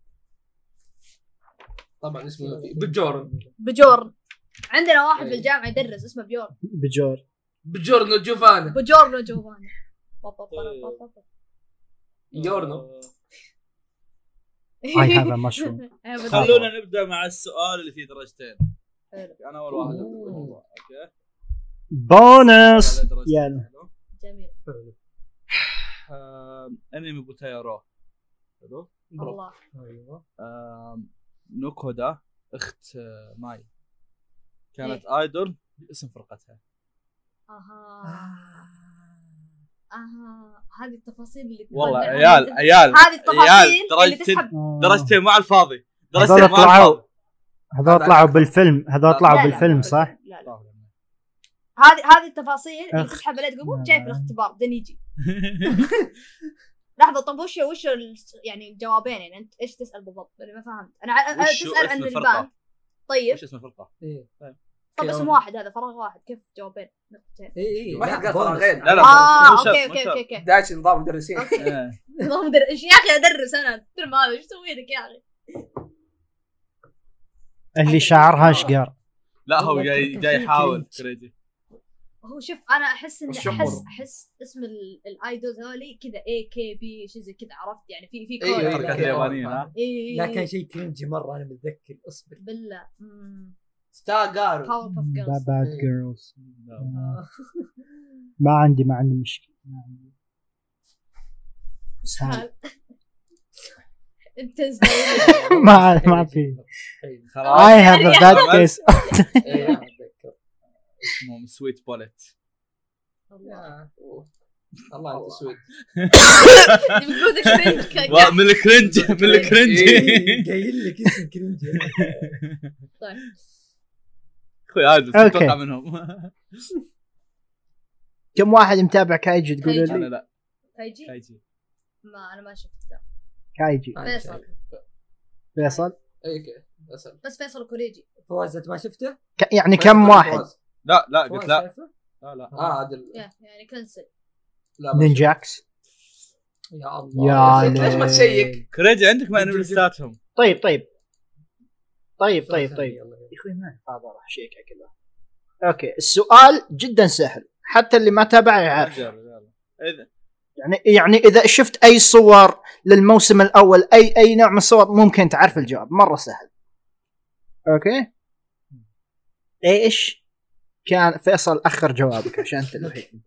طبعا اسمه بجورن بجورن عندنا واحد إيه. في الجامعه يدرس اسمه بيورن بجور بجورن جوفانا بجورن جوفاني إيه. يورنو آه، I have a mushroom. إيه، بالضبط. خلونا نبدا مع السؤال اللي فيه درجتين حلو. انا اول واحد أوه. اوكي بونس على درجتين. يلا. جميل حلو. آم، انمي آه، بوتايرو حلو الله ايوه آم، نوكودا اخت آه، ماي كانت ايدول باسم فرقتها اها آه. اها هذه التفاصيل اللي والله تبدل. عيال عيال هذه التفاصيل عيال، اللي درجة- تسحب آه. درجتين مع الفاضي درجتين هذول مع طلعوا الفاضي هذول طلعوا بالفيلم هذول لا، لا، طلعوا لا، بالفيلم لا، صح؟ لا لا هذه هذه التفاصيل اللي أخ. تسحب عليها تقول مو جاي في الاختبار دنيجي لحظه طب وش وش ال- يعني الجوابين يعني انت ايش تسال بالضبط؟ انا ما فهمت انا ع- أنا وش تسال عن اسم الفرقة؟ الباند طيب ايش اسم الفرقه؟ ايه طب كيون. اسم واحد هذا فراغ واحد كيف جوابين نقطتين اي اي واحد إيه، لا، قال بونس. فراغين. لا، لا. اه مو شرط، اوكي مو اوكي شرط. اوكي اوكي داعش نظام مدرسين إيه. نظام مدرس يا اخي ادرس انا الترم هذا ايش اسوي لك يا اخي؟ اللي شعرها اشقر لا هو والله جاي كان جاي في يحاول cringe. كريجي هو شوف انا احس اني والشمر. احس احس اسم ال- الايدولز هذولي كذا اي كي بي شيء زي كذا عرفت يعني في إيه، إيه، في أيوة، كود أيوة. الحركات اليابانيه ها؟ اي لا كان شيء كرنجي مره انا متذكر اصبر بالله ستار جارو باور باف جيرلز باد إيه. جيرلز لا. ما عندي ما عندي مشكله ما عندي. سهل. انت ما إيه، ما في خلاص I have a bad case اي أنا اتذكر اسمهم سويت بولت إيه، يعني. يا. الله انت سويت بجودك كرنج وا- من الكرنج من الكرنج إيه، قايل لك اسم كرنجي طيب. اخوي عادل أوكي. اتوقع منهم كم واحد متابع كايجي تقولوا كايجي. انا لي لا كايجي كايجي ما انا ما شفت ذا كايجي طيب، فيصل فيصل اي اسال بس فيصل وكوريجي فواز انت ما شفته؟ ك- يعني كم واحد لا لا فواز قلت لا شايفه؟ آه. لا لا اه عدل يا يعني كنسل لا ما شفت. نينجاكس يا الله يا ليش ما ليل. تشيك؟ كريجي عندك ما انمستاتهم طيب طيب طيب طيب ثانية، طيب يلا، يلا. يا اخوي ما هذا راح شيكها كلها اوكي السؤال جدا سهل حتى اللي ما تابعه آه. يعرف يعني يعني اذا شفت اي صور للموسم الاول اي اي نوع من الصور ممكن تعرف الجواب مره سهل اوكي ايش كان فيصل اخر جوابك عشان انت الوحيد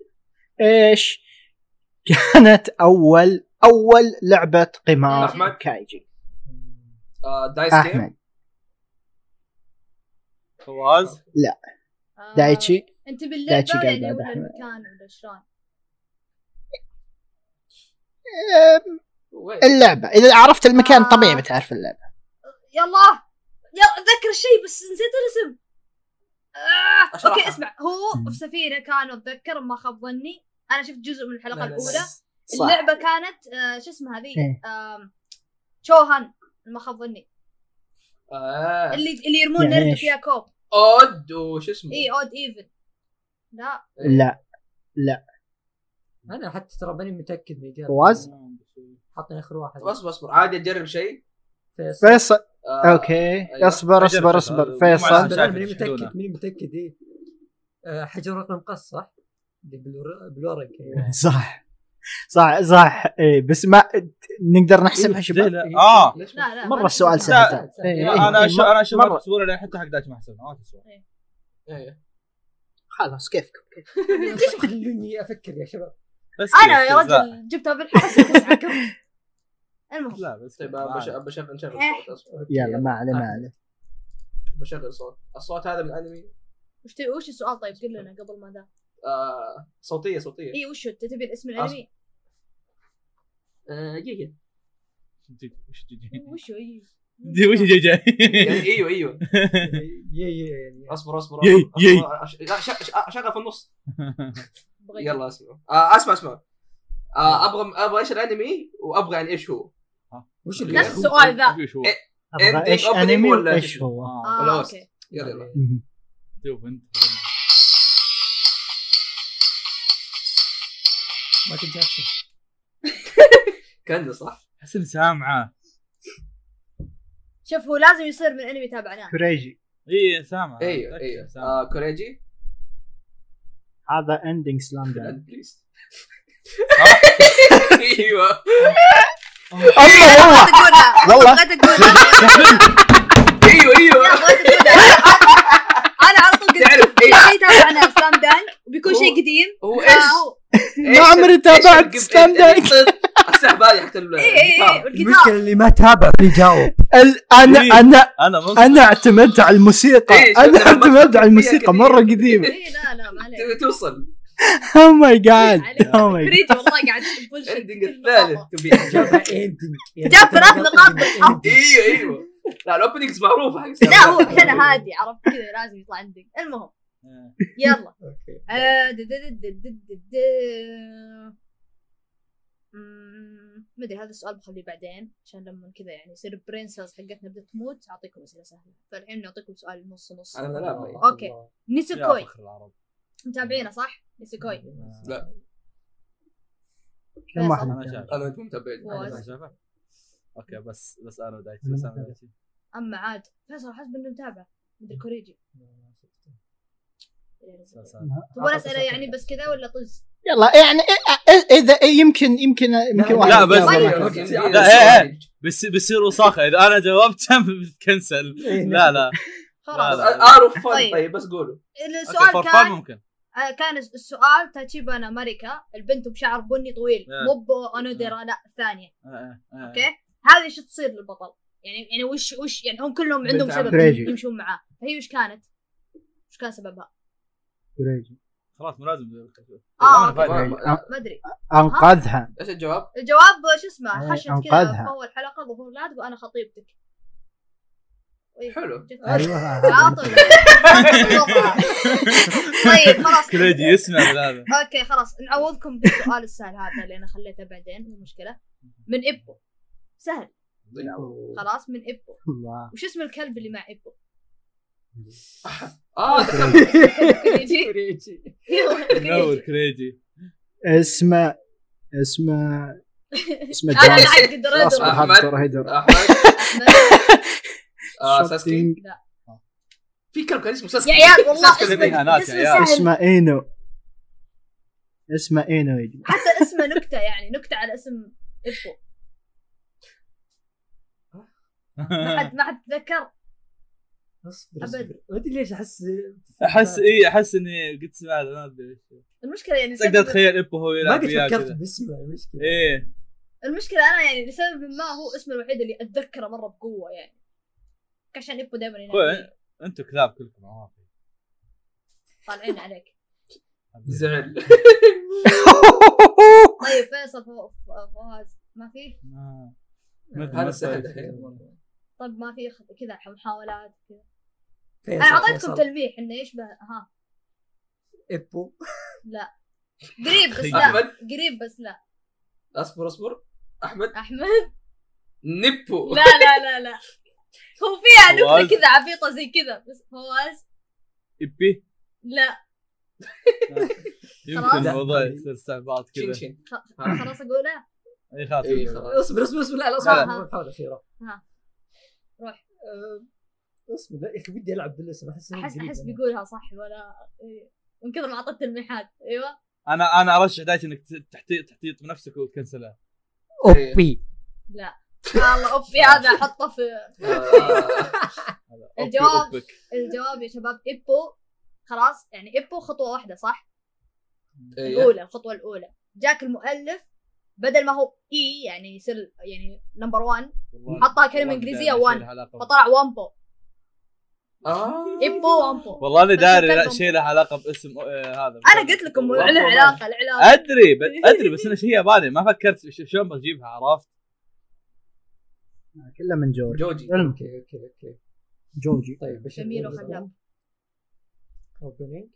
ايش كانت اول اول لعبه قمار أحمد. كايجي آه، دايس جيم احمد فواز آه، دايتشي انت دايتشي باللعبه قاعد يعني بعد ولا أحمد. المكان ولا شلون؟ أم، وين؟ اللعبه اذا إيه، عرفت المكان آه. طبيعي بتعرف اللعبه يلا يا اتذكر شيء بس نسيت الاسم آه. اوكي اسمع هو في سفينه كانوا اتذكر ما خاب ظني انا شفت جزء من الحلقه لا، لا، لا. الاولى صح. اللعبه كانت آه شو اسمها هذه إيه. آم، شوهان ما خاب ظني اه اللي اللي يرمون يعني نرد إيش؟ فيها كوب اود وش اسمه؟ اي اود ايفن لا لا انا حتى ترى ماني متاكد اني قال فواز حاطين اخر واحد اصبر اصبر عادي اجرب شيء فيصل فيصل آه، اوكي أيوة. اصبر أجل، اصبر اصبر أجل. فيصل أصبر، شايف أنا ماني يشهدونه. متاكد ماني متاكد ايه آه، حجر رقم قص صح؟ اللي بالور- بالورق صح صح صح اي بس ما نقدر نحسبها شباب اه ليش لا لا مره ما السؤال شفتها. سهل سهل. إيه، لا، إيه، انا إيه، اشوف انا اشوف مرة. التصوير اللي حتى حق دايتش ما حسبنا ما تسوى إيه. خلاص كيفكم ليش تخلوني افكر يا شباب؟ بس انا يا كذا، لا. رجل جبتها بالحرس وتسعة المهم لا بس طيب كذا، آه، بش- عادي. بشغل نشغل إيه. صوت أصبر. أوكي، يلا ما عليه ما عليه بشغل صوت الصوت هذا من الانمي وش ت- وش السؤال طيب قل لنا قبل ما ذا آه، صوتيه صوتيه اي وش هو؟ انت تبي الاسم الانمي آه، دقيقه جي- وش جي- جي- وش هو إي. جي- وش جي جي يعني ايوه ايوه يي يي يعني اصبر اصبر يي، أصبر. يي. أصبر. أش- لا، ش- ش- شغل في النص بغير. يلا اسمع آه، اسمع اسمع آه، ابغى ابغى ايش الانمي وابغى عن ايش يعني هو وش اللي نفس السؤال ذا شوف شوف ابغى إيه، ايش opening انمي ولا وايش شو؟ هو اه خلاص. اوكي يلا يلا مهم. شوف انت ما كنت جالسة. كنز صح؟ احس اني سامعه شوف هو لازم يصير من انمي تابعناه كريجي اي سامعه ايوه أتأكد ايوه سامعة. آه، كوريجي هذا اندنج سلام آه. دانك بليز ايوه الله إيه، والله تقولها والله بغيت تقولها ايوه يا ايوه بغيت تقولها انا على طول قلت تعرف كل ايش شيء تابعناه سلام دانك وبيكون هو- شيء قديم آه، هو لا، ايش؟ هو- إيش ما عمري ال- تابعت إيش ال- ستاند ال- السحب هذه حق ال- اي اي اي الجيتار. والقطار المشكله اللي ما تابع بيجاوب ال- انا إيه. انا انا مصر انا اعتمدت على الموسيقى إيه، شوف انا لما اعتمدت على الموسيقى كثير. مره قديمه اي إيه، لا لا ما عليك ت- توصل او ماي جاد عليك. او ماي فريد والله قاعد تبلشت الاندنج كل الثالث مرة. تو بي جابها اندنج جاب ثلاث نقاط بالحظ. ايوه ايوه لا الاوبننجز معروفه حق لا هو كذا هادي عرفت كذا لازم يطلع عندك المهم يلا اوكي آه، دد- دد- دد- دد- دد- دد. مم، مدري هذا السؤال بخليه بعدين عشان لما كذا يعني يصير البرين سيلز حقتنا بدها تموت اعطيكم اسئله سهله فالحين نعطيكم سؤال نص نص انا من الالعاب اوكي الله. نيسكوي متابعينه صح؟ نيسكوي لا ما فيصل. أحد. انا شايف انا مو متابع فواز. انا شايفه اوكي بس بس انا ودايتي بس انا ودايتي اما عاد فيصل حسب انه متابع مدري كوريجي بس أنا- تبغى اسئله يعني بس كذا ولا طز؟ يلا يعني إ- إ- اذا إي إيه، يمكن يمكن يمكن واحد لا، بس- طيب. لا، إيه، إيه. بس بيصير وساخه اذا انا جاوبت بتكنسل لا لا خلاص لا، لا. اعرف فن طيب. طيب بس قولوا السؤال فور فان كان ممكن آه، كان الس- السؤال تاتشيبانا ماريكا البنت بشعر بني طويل إيه. مو بأونوديرا لا الثانيه آه، آه، آه. اوكي هذه شو تصير للبطل يعني يعني وش وش يعني هم كلهم بنت عندهم عم سبب فريجي. يمشون معاه فهي وش كانت؟ وش كان سببها؟ خلاص مو لازم اه أنا فايز. اوكي ما- ما ادري انقذها ايش الجواب؟ الجواب شو اسمه إيه، خشت كذا أنقذها. في اول حلقه ظهور لا تقول انا خطيبتك إيه، حلو. أيوة. جت- ايوه عاطل. طيب خلاص كريجي يسمع هذا اوكي خلاص نعوضكم بالسؤال السهل هذا اللي انا خليته بعدين مو مشكله من ابو سهل خلاص من ابو الله وش اسم الكلب اللي مع ابو؟ اه يجي نور كريجي اسمه اسمه اسمه انا جونز العب قدرات اصبح آه، أحمد. هدر هدر احمد الرحمن. آه، ساسكي Shooting. في كلب كان اسمه ساسكي يا عيال والله ساسكي اسمه الذئب. الإهانات يا اسمه عيال. سهل اسمه اينو اسمه اينو يا جماعة. حتى اسمه نكته يعني نكته على اسم ابو ما حد ما حد تذكر اصبر أبد. اصبر ما ادري ليش احس احس اي احس اني قد سمعت ما ادري المشكله يعني بس اقدر لسبب- اتخيل ابو هو ما يلعب قد وياه فكرت كذا باسمه يعني المشكله ايه المشكله انا يعني لسبب ما هو اسمه الوحيد اللي اتذكره مره بقوه يعني عشان ابو دائما هو- انتم كلاب كلكم آه، عوافي طالعين عليك زعل طيب فيصل فو- فو- فواز ما في ما- ما أدري، هذا ما سهل أدري. طيب ما في خ- كذا محاولات كذا فيصل- انا اعطيتكم فيصل. تلميح انه يشبه ها ابو قريب بس لا احمد قريب بس لا اصبر اصبر احمد احمد نبو لا لا لا لا هو فيها فواز. نكته كذا عبيطه زي كذا بس فواز يبي لا يمكن خلاص. الموضوع يصير استعباط شين كذا شين خ- آه. خلاص اقولها اي إيه، خلاص إي يلا. خلاص. اصبر اصبر اصبر لا لا لا، اصبر لا. محاولة أخيرة ها. روح. أه، اصبر لا يا اخي بدي العب بالاسم احس إنه احس قريب احس أنا. بيقولها صح ولا إيه. من كثر ما اعطيت تلميحات ايوه انا انا ارشح دايت انك ت- تحتي- تحتيط بنفسك وتكنسلها اوبي لا والله اوبي هذا احطه في آه، هذا. أوبي- الجواب. أوبك. الجواب يا شباب ابو خلاص يعني ابو خطوه واحده صح؟ إيه. الاولى الخطوه الاولى جاك المؤلف بدل ما هو اي يعني يصير يعني نمبر 1 والله- حطها كلمه والله انجليزيه داري شيء 1 لها علاقة فطلع وامبو آه. ابو وامبو والله انا بس داري لا الكلب- شيء له علاقه باسم آه، هذا انا قلت لكم له وامبو ما- علاقه العلاقه ادري ب- ادري بس انا شيء ياباني ما فكرت ش- شلون بجيبها عرفت إيه. كله من جورج جوجي علم اوكي اوكي اوكي جورجي طيب بشر جميل وخلاق. اوبننج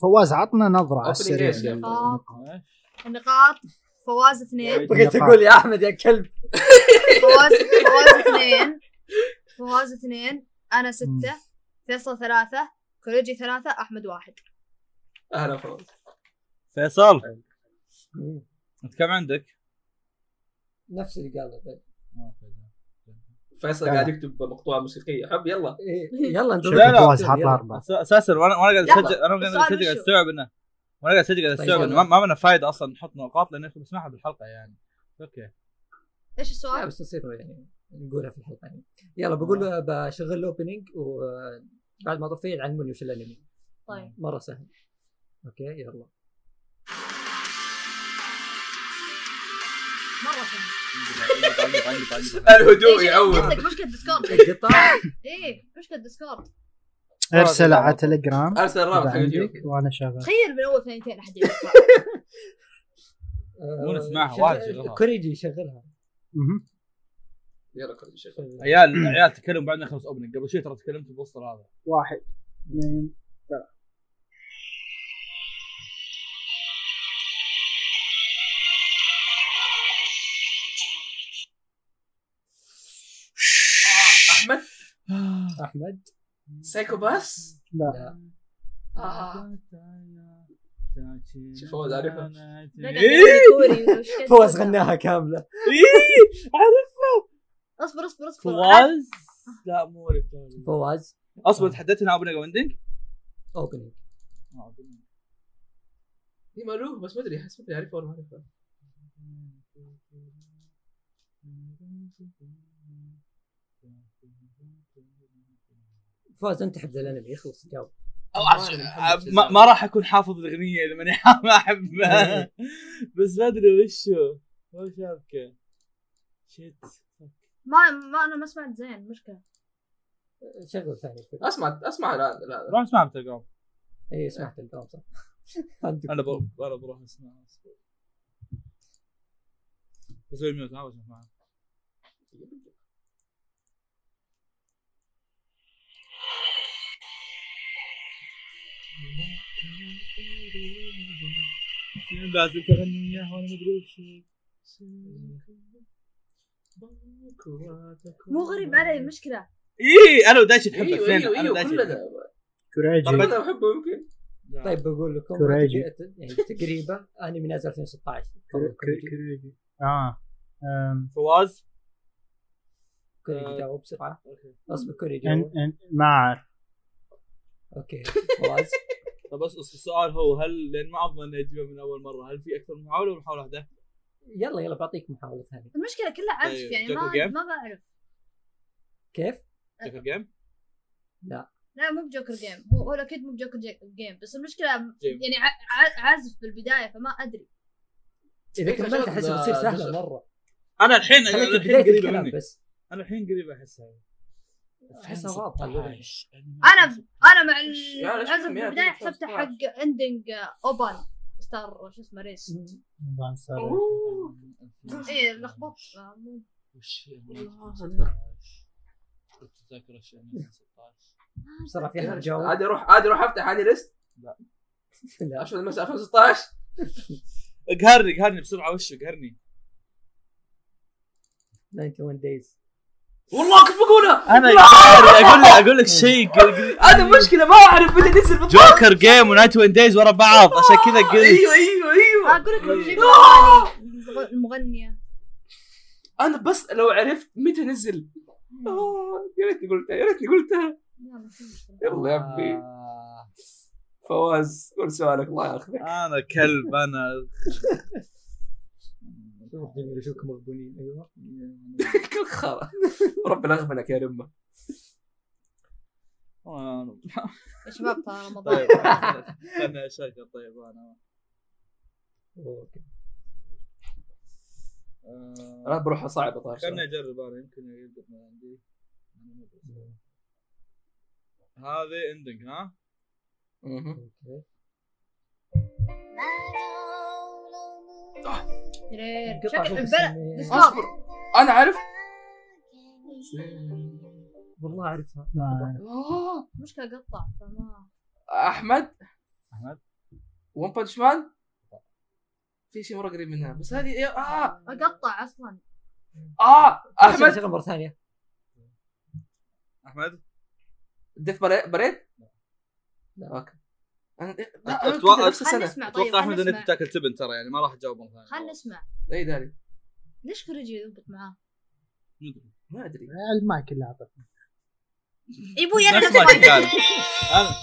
فواز عطنا نظره على Opening السريع yes, yeah. آه. النقاط فواز اثنين بغيت اقول يا احمد يا كلب فواز فواز اثنين فواز اثنين انا ستة فيصل ثلاثة كوريجي ثلاثة أحمد واحد اهلا فوز فيصل مم. انت كم عندك؟ نفس اللي قاله طيب. فيصل قاعد يكتب مقطوعه موسيقيه حب يلا إيه، يلا انت لا، لا. فواز حاط اربعه أس- اساسا وانا وانا قاعد يلا. اسجل انا قاعد السؤال اسجل قاعد وشو؟ استوعب انه وانا قاعد اسجل قاعد طيب، استوعب يلا. انه ما- ما منه فايده اصلا نحط نقاط لان بنسمعها بالحلقه يعني اوكي إيش لا السؤال؟ بس تصير يعني نقولها في الحلقه يعني يلا بقول له بشغل الاوبننج وبعد ما اطفيه يعلموني وش الانمي طيب مره سهل اوكي يلا مرة سهل الهدوء إيش- يعود قصدك مشكلة ديسكورد القطار إيه مشكلة ديسكورد ارسل على تليجرام ارسل الرابط حق اليوتيوب عندك وانا شغال تخيل من اول ثانيتين احد يقرأ. آه، مو نسمعها، شغل- واجد شغلها. كوريجي شغلها مهم. يلا كل شيء شغل. عيال عيال تكلم بعدنا خمس اوبننج قبل شوي ترى تكلمت بوسط هذا واحد اثنين احمد احمد سايكو باس لا آه. شوف فواز عارفها. لا، قاعد إيه؟ يغني كوري وش كذا. فوز غناها كامله اصبر اصبر اصبر فواز لا مو عارف. فواز اصبر تحديت هنا اوبننج اوبننج اوبننج هي مالوه بس ما ادري احس ما ادري اعرفه ولا ما اعرفه فوز انت حب الانمي يخلص جاوب آه، ما, ما راح اكون حافظ الاغنيه اللي ماني ما احبها بس ما ادري وش هو. ما شابكه شيت ما ما انا ما سمعت زين مشكله شغل ثاني اسمع اسمع لا لا روح اسمعها بتلقاهم اي سمعت الكلام صح عندك انا بروح انا بروح اسمعها بسوي ميوت ما بسمعها لازم تغني اياها وانا ما ادري وش مو غريب علي المشكله اي انا ودايتشي نحب ايوه الاثنين ايوه انا ايوه ودايتشي كلنا طب كوريجي انا بحبه يمكن طيب بقول لكم كوريجي. تق- يعني تقريبا انمي نازل 2016 كوري- كوري- كوريجي اه أم، فواز كوريجي آه. جاوب بسرعه اصبر كوريجي إن- إن- ما اعرف اوكي فواز طب بس السؤال هو هل لان ما اضمن اني اجيبه من اول مره هل في اكثر من محاوله ولا محاوله أه. واحده؟ يلا يلا بعطيك محاوله ثانيه المشكله كلها عزف طيب، يعني جوكو ما جيم؟ ما بعرف كيف؟ جوكر جيم؟ لا مو بجوكر جيم هو ولا اكيد مو بجوكر جي- جيم بس المشكله جيم. يعني ع- ع- عازف بالبدايه فما ادري اذا فكرة كملت احس شغلة بتصير سهله جزء. مره انا الحين انا خليك الحين بدايه قريبه مني الكلام بس انا الحين قريب احسها احسها واضحه اللغة. انا انا مع ال- إيش؟ يا ليش العزف كم يا بالبدايه دي خلاص حسبته تعرف. حق اندنج اوبان ستار شو اسمه ريس ما صار. إيه، ايه لخبطت آه، مو- وش التذاكر بسرعه في احد جاوب عادي اروح عادي اروح افتح هذه ليست لا اشوف المساء 2016 قهرني قهرني بسرعه وش قهرني 91 دايز والله كنت بقولها انا قهرني اقول لك اقول لك شيء قل- قل- هذا مشكله ما اعرف متى تنزل بالضبط جوكر جيم ونايت وين دايز ورا بعض عشان كذا قلت ايوه ايوه ايوه اقول لك لو بجيب آه! المغني- المغنيه انا بس لو عرفت متى نزل آه، يا ريتني قلتها يا ريتني قلتها يلا، شو المشكلة؟ يلا يا عمي فواز قول سؤالك الله ياخذك أيوه. انا كلب انا شوف جميل اشوفكم مغبونين ايوه كل خرا ربنا يغفلك يا رمه يا شباب ترى رمضان طيب خلنا اشكر طيب انا أوكي. انا بروح اصعب طار خلنا اجرب انا يمكن يلقط من عندي هذه اندنج ها أوكي. رير. قطع شكل شوف البلد اسمه. اصبر انا عارف والله اعرفها ما أعرف. آه، مشكله قطع فما احمد احمد ون بانش مان في شيء مره قريب منها بس هذه إيه، اه اقطع اصلا آه. اه احمد شغل مره ثانيه احمد ديث بريد لا. اوكي انا لا أنا كذا اتوقع نفس السنه خلنا نسمع طيب اتوقع احمد خلنا انك نسمع بتاكل تبن ترى يعني ما راح تجاوب مره ثانيه خلنا نسمع اي إيه، داري ليش كوريجي يضبط معاه؟ مدري. ما ادري المايك اللي اعطته يبو يلا نفس نسمع ما كنت عارف. أنا-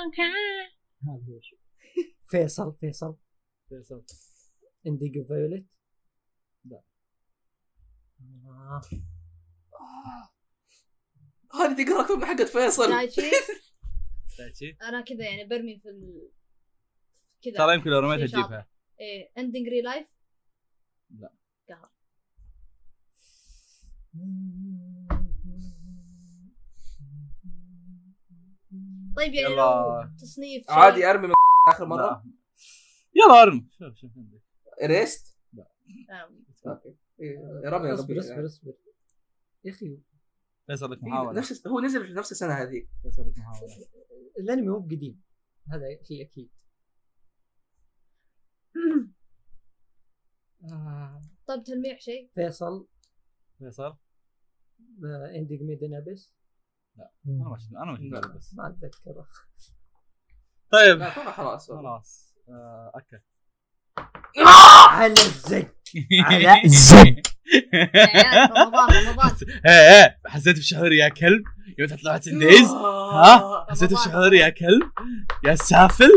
هذا وش. فيصل فيصل فيصل. انديجو فايوليت لا. آه. هذه تقرا كتب حقت فيصل دايتشي دايتشي. انا كذا يعني برمي في ال... كذا إيه، ترى يمكن لو رميتها شيء شاطر. تجيبها ايه اندنج ري لايف طيب يعني يلا. لو تصنيف شيء- عادي ارمي من اخر مره لا. يلا ارمي شوف شوف عندك ريست آه، اوكي إيه، رمي يا اصبر ربي اصبر اصبر يا اخي فيصل لك إيه، محاولة نفس هو نزل في نفس السنه هذه فيصل لك محاولة الانمي مو بقديم هذا شيء اكيد آه. طب تلميح طيب، شيء فيصل آه، فيصل انديج ميدن ابس انا ما شفت انا ما شفت بالي بس ما اتذكره طيب لا طبعا خلاص خلاص آه، اكل على الزق على زق. يا عيال، رمضان رمضان ايه ايه حسيت بشعور يا كلب يوم تحط لوحه سنديز ها حسيت رمضان. بشعور يا كلب يا سافل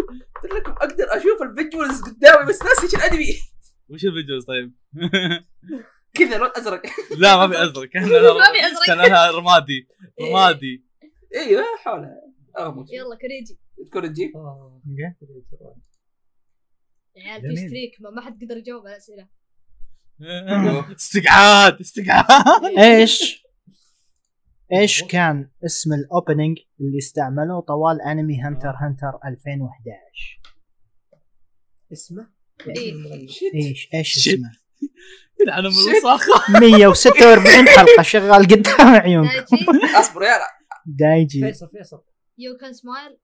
قلت لكم اقدر اشوف الفيجوالز قدامي بس ناسي ايش الانمي وش الفيديوز طيب؟ كذا لون ازرق لا ما في ازرق كان ما في أزرق. كان لها رمادي رمادي ايوه حولها اغمض يلا كريجي تذكر تجيب آه. يا عيال في جميل. ستريك ما, ما حد قدر يجاوب على الاسئله استقعاد استقعاد ايش ايش كان اسم الاوبننج اللي استعملوه طوال انمي هنتر هنتر 2011 اسمه إيه. شيت ايش ايش Shit. اسمه يلعن ام الوساخه 146 حلقه شغال قدام عيونك دايتشي اصبر يا لا دايجي فيصل فيصل يو كان سمايل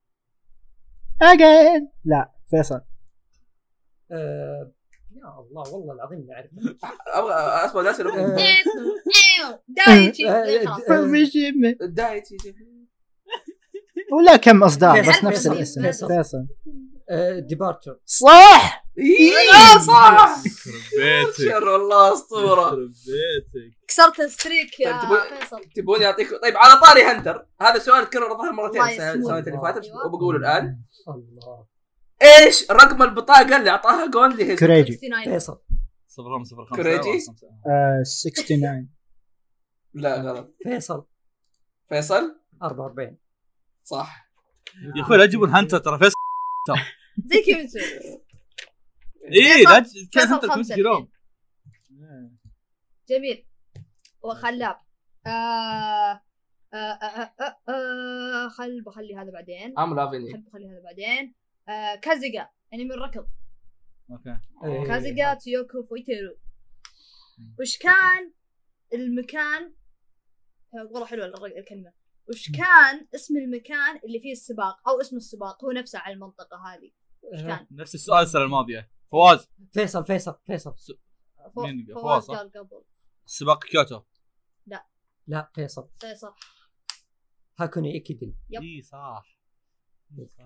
اجين لا فيصل آه. يا الله والله العظيم ما اعرف ابغى اصبر ناس آه. دايتشي آه، خلاص. آه، الدايت ولا كم اصدار بس فيصل، نفس فيصل، الاسم فيصل. فيصل آه، ديبارتشر صح ايوه صح بيتك شر والله اسطوره بيتك كسرت الستريك يا طيب، تبغى- فيصل تبوني اعطيكم طيب على طاري هنتر هذا السؤال تكرر ظهر مرتين الله السنه السنة يسلمك. اللي فاتت أيوة. وبقوله الان الله ايش رقم البطاقه اللي اعطاها جون لهيزو؟ كريجي 69 فيصل صفر خمسة صفر خمسة كريجي؟ واحد خمسة. آه، 69 لا غلط فيصل فيصل 44 صح يا اخوي لا تجيبون هانتر ترى فيصل زي كيميتسو اي إيه، لا تج- كان فيصل هانتر خمسة كنت جيرون جميل وخلاب آه آه آه آه آه خل بخلي هذا بعدين آه. ام لافيني خل بخلي هذا بعدين آه كازيغا انمي الركض اوكي إيه. كازيغا تيوكو فويتيرو وش كان المكان آه، والله حلوه الر- الكلمه وش كان اسم المكان اللي فيه السباق او اسم السباق هو نفسه على المنطقه هذه إيه. وش كان نفس السؤال السنه الماضيه فواز آه، فيصل فيصل فيصل فو- مين اللي- فواز فواز، صح؟ قال قبل سباق كيوتو لا فيصل إيه، صح هاكوني ايكيدن يب. اي صح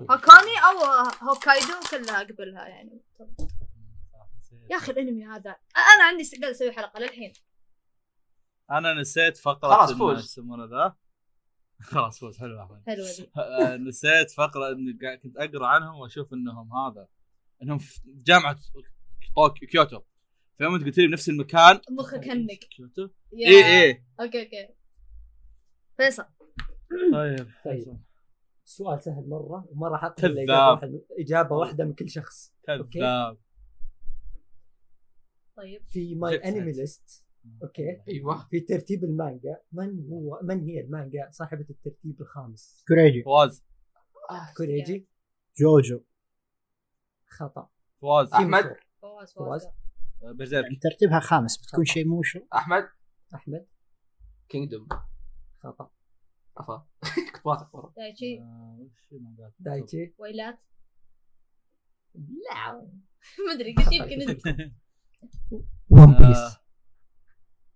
هاكاني او هوكايدو كلها قبلها يعني يا اخي الانمي هذا انا عندي استعداد اسوي حلقه للحين انا نسيت فقره خلاص، إن- فوز. يسمونه ذا خلاص فوز حلو احمد حلوه ذي آه، نسيت فقره اني قاعد- كنت اقرا عنهم واشوف انهم هذا انهم في جامعه طوكيو كيوتو فيوم أنت قلت لي بنفس المكان مخك هنك كيوتو إيه، يا- اي اي اوكي اوكي فيصل طيب طيب سؤال سهل مره وما راح اقبل كذاب. إلا اجابه واحده اجابه واحده من كل شخص كذاب طيب في ماي جد سهل. انمي ليست اوكي ايوه في ترتيب المانجا من هو من هي المانجا صاحبه الترتيب الخامس كريجي فواز كوريجي جوجو خطا فواز أحمد. كيميتسو. فواز فواز. فواز آه، برزيرك ترتيبها خامس بتكون شيء مو شو احمد احمد كينجدوم خطا افا كنت واثق والله دايتشي آه، وش ما قال؟ دايتشي ويلات لا ما ادري قلت يمكن انت ون آه، بيس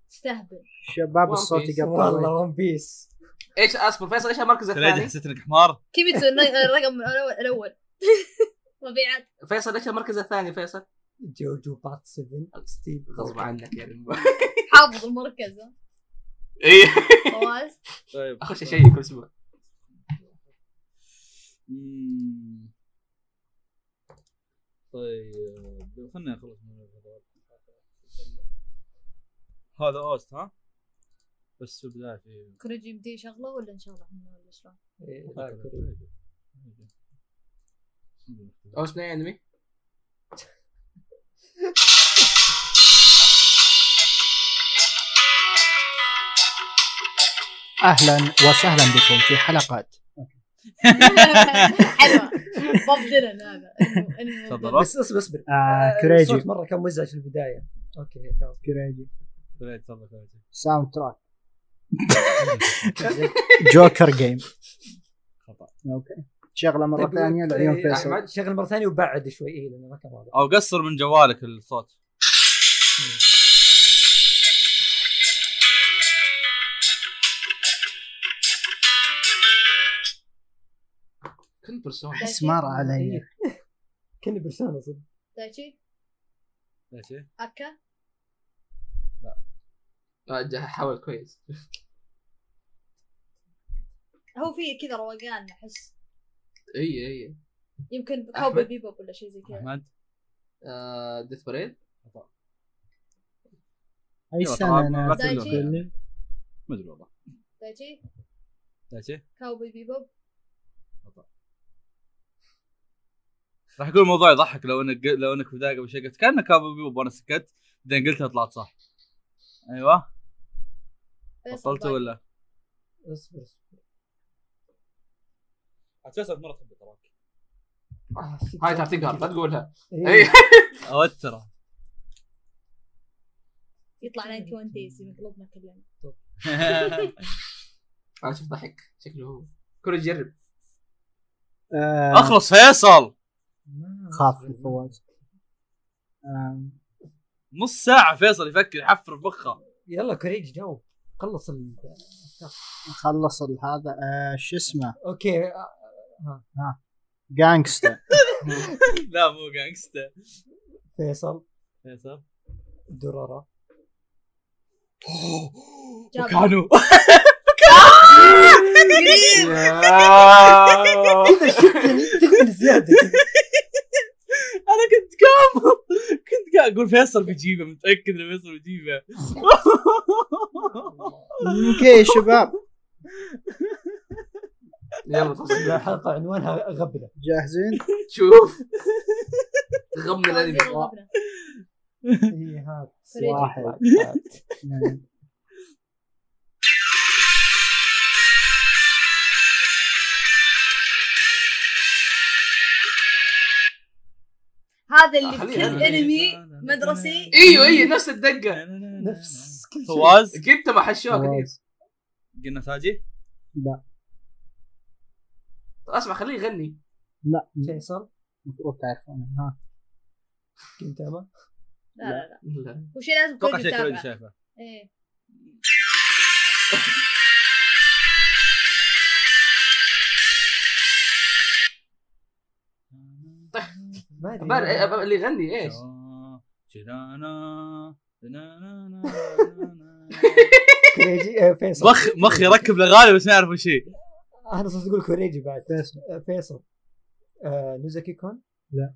تستهبل شباب One الصوت Piece. يقطع والله ون بيس ايش اصبر فيصل ايش المركز كريجي الثاني؟ حسيت انك حمار كيميتسو الن- الرقم الاول الاول مبيعات فيصل ايش المركز الثاني فيصل؟ جوجو بارت 7 ستيف غصب عنك يعني حافظ المركز ها. اي فواز طيب اخش شيء كل اسبوع مم. طيب خلنا نخلص من الغبار. هذا اوست ها بس في البدايه في كوريجي يمديه شغله ولا ان شاء الله احنا ولا شلون؟ إيه، لا، كوريجي. او اسمه إيه انمي اهلا وسهلا بكم في حلقات حلوه بوب ديلن هذا إنه- إنه- تفضل. بوب- بس اصبر اصبر آه الصوت كريجي مره كان مزعج في البدايه اوكي تمام. كريجي فريد، تفضل فريد. ساوند تراك جوكر جيم اوكي شغله مره طيب، ثانيه آه، لعيون فيصل أحمد. شغل مره ثانيه وبعد شوي إيه لانه ما كان واضح او قصر من جوالك الصوت كنت برسونا بس مر علي إيه. كاني برسانه صدق دايتشي ايش إيه؟ اكا آه، حاول كويس هو في كذا روقان احس اي اي يمكن أحمد؟ كاوبوي بيبوب ولا شيء زي كذا احمد ديث بريد اي يلا، سنه أيوة، طبعاً ما انا تقول تدري. دايتشي. ما ادري والله دايتشي ايش إيه؟ كاوبوي بيبوب راح اقول موضوع يضحك لو انك لو انك في البدايه قبل شوي قلت كانك ابو بيوب وانا سكت بعدين قلتها طلعت صح ايوه فيصل بطلته باي. ولا اصبر اصبر فيصل مره تحب تراك آه، هاي ترى تقهر لا تقولها إيه. اي اوتره يطلع 91 دايز مقلوبنا كلنا انا شفت ضحك شكله هو كل يجرب آه، اخلص فيصل ما خاف أصبر. الفواز آم، نص ساعه فيصل يفكر يحفر بمخه يلا كريج جاوب خلص ال... خلص هذا آه، شو اسمه اوكي آه، جانجستا لا مو جانجستا فيصل فيصل درارة جاب. وكانوا كذا شكلي تغني زيادة انا كنت قام كنت قاعد اقول فيصل بيجيبه متاكد انه فيصل بيجيبه اوكي يا شباب يلا تفضل. كذا حلقة عنوانها غبنة جاهزين شوف غمنا الانمي فوازير الغبنة. اي إيه، هات كريج. واحد. هات. اثنين. هذا اللي خليها في كل هذا. انمي مدرسي ايوه ايوه نفس الدقه نفس كل شيء فواز كنت مع حشوه كثير خلاص. قلنا ساجي اسمع خليه يغني لا فيصل المفروض تعرفون ها كنت انا لا لا لا لا. وش لازم اتوقع كوجي شيء كل يتابع شايفه إيه. ما ادري بار- إيه، بار- اللي يغني ايش؟ كريجي آه، فيصل مخ مخي ركب الاغاني بس ما اعرف وش هي انا صرت اقول كوريجي بعد فيصل. آه، فيصل آه، نوزاكي كون لا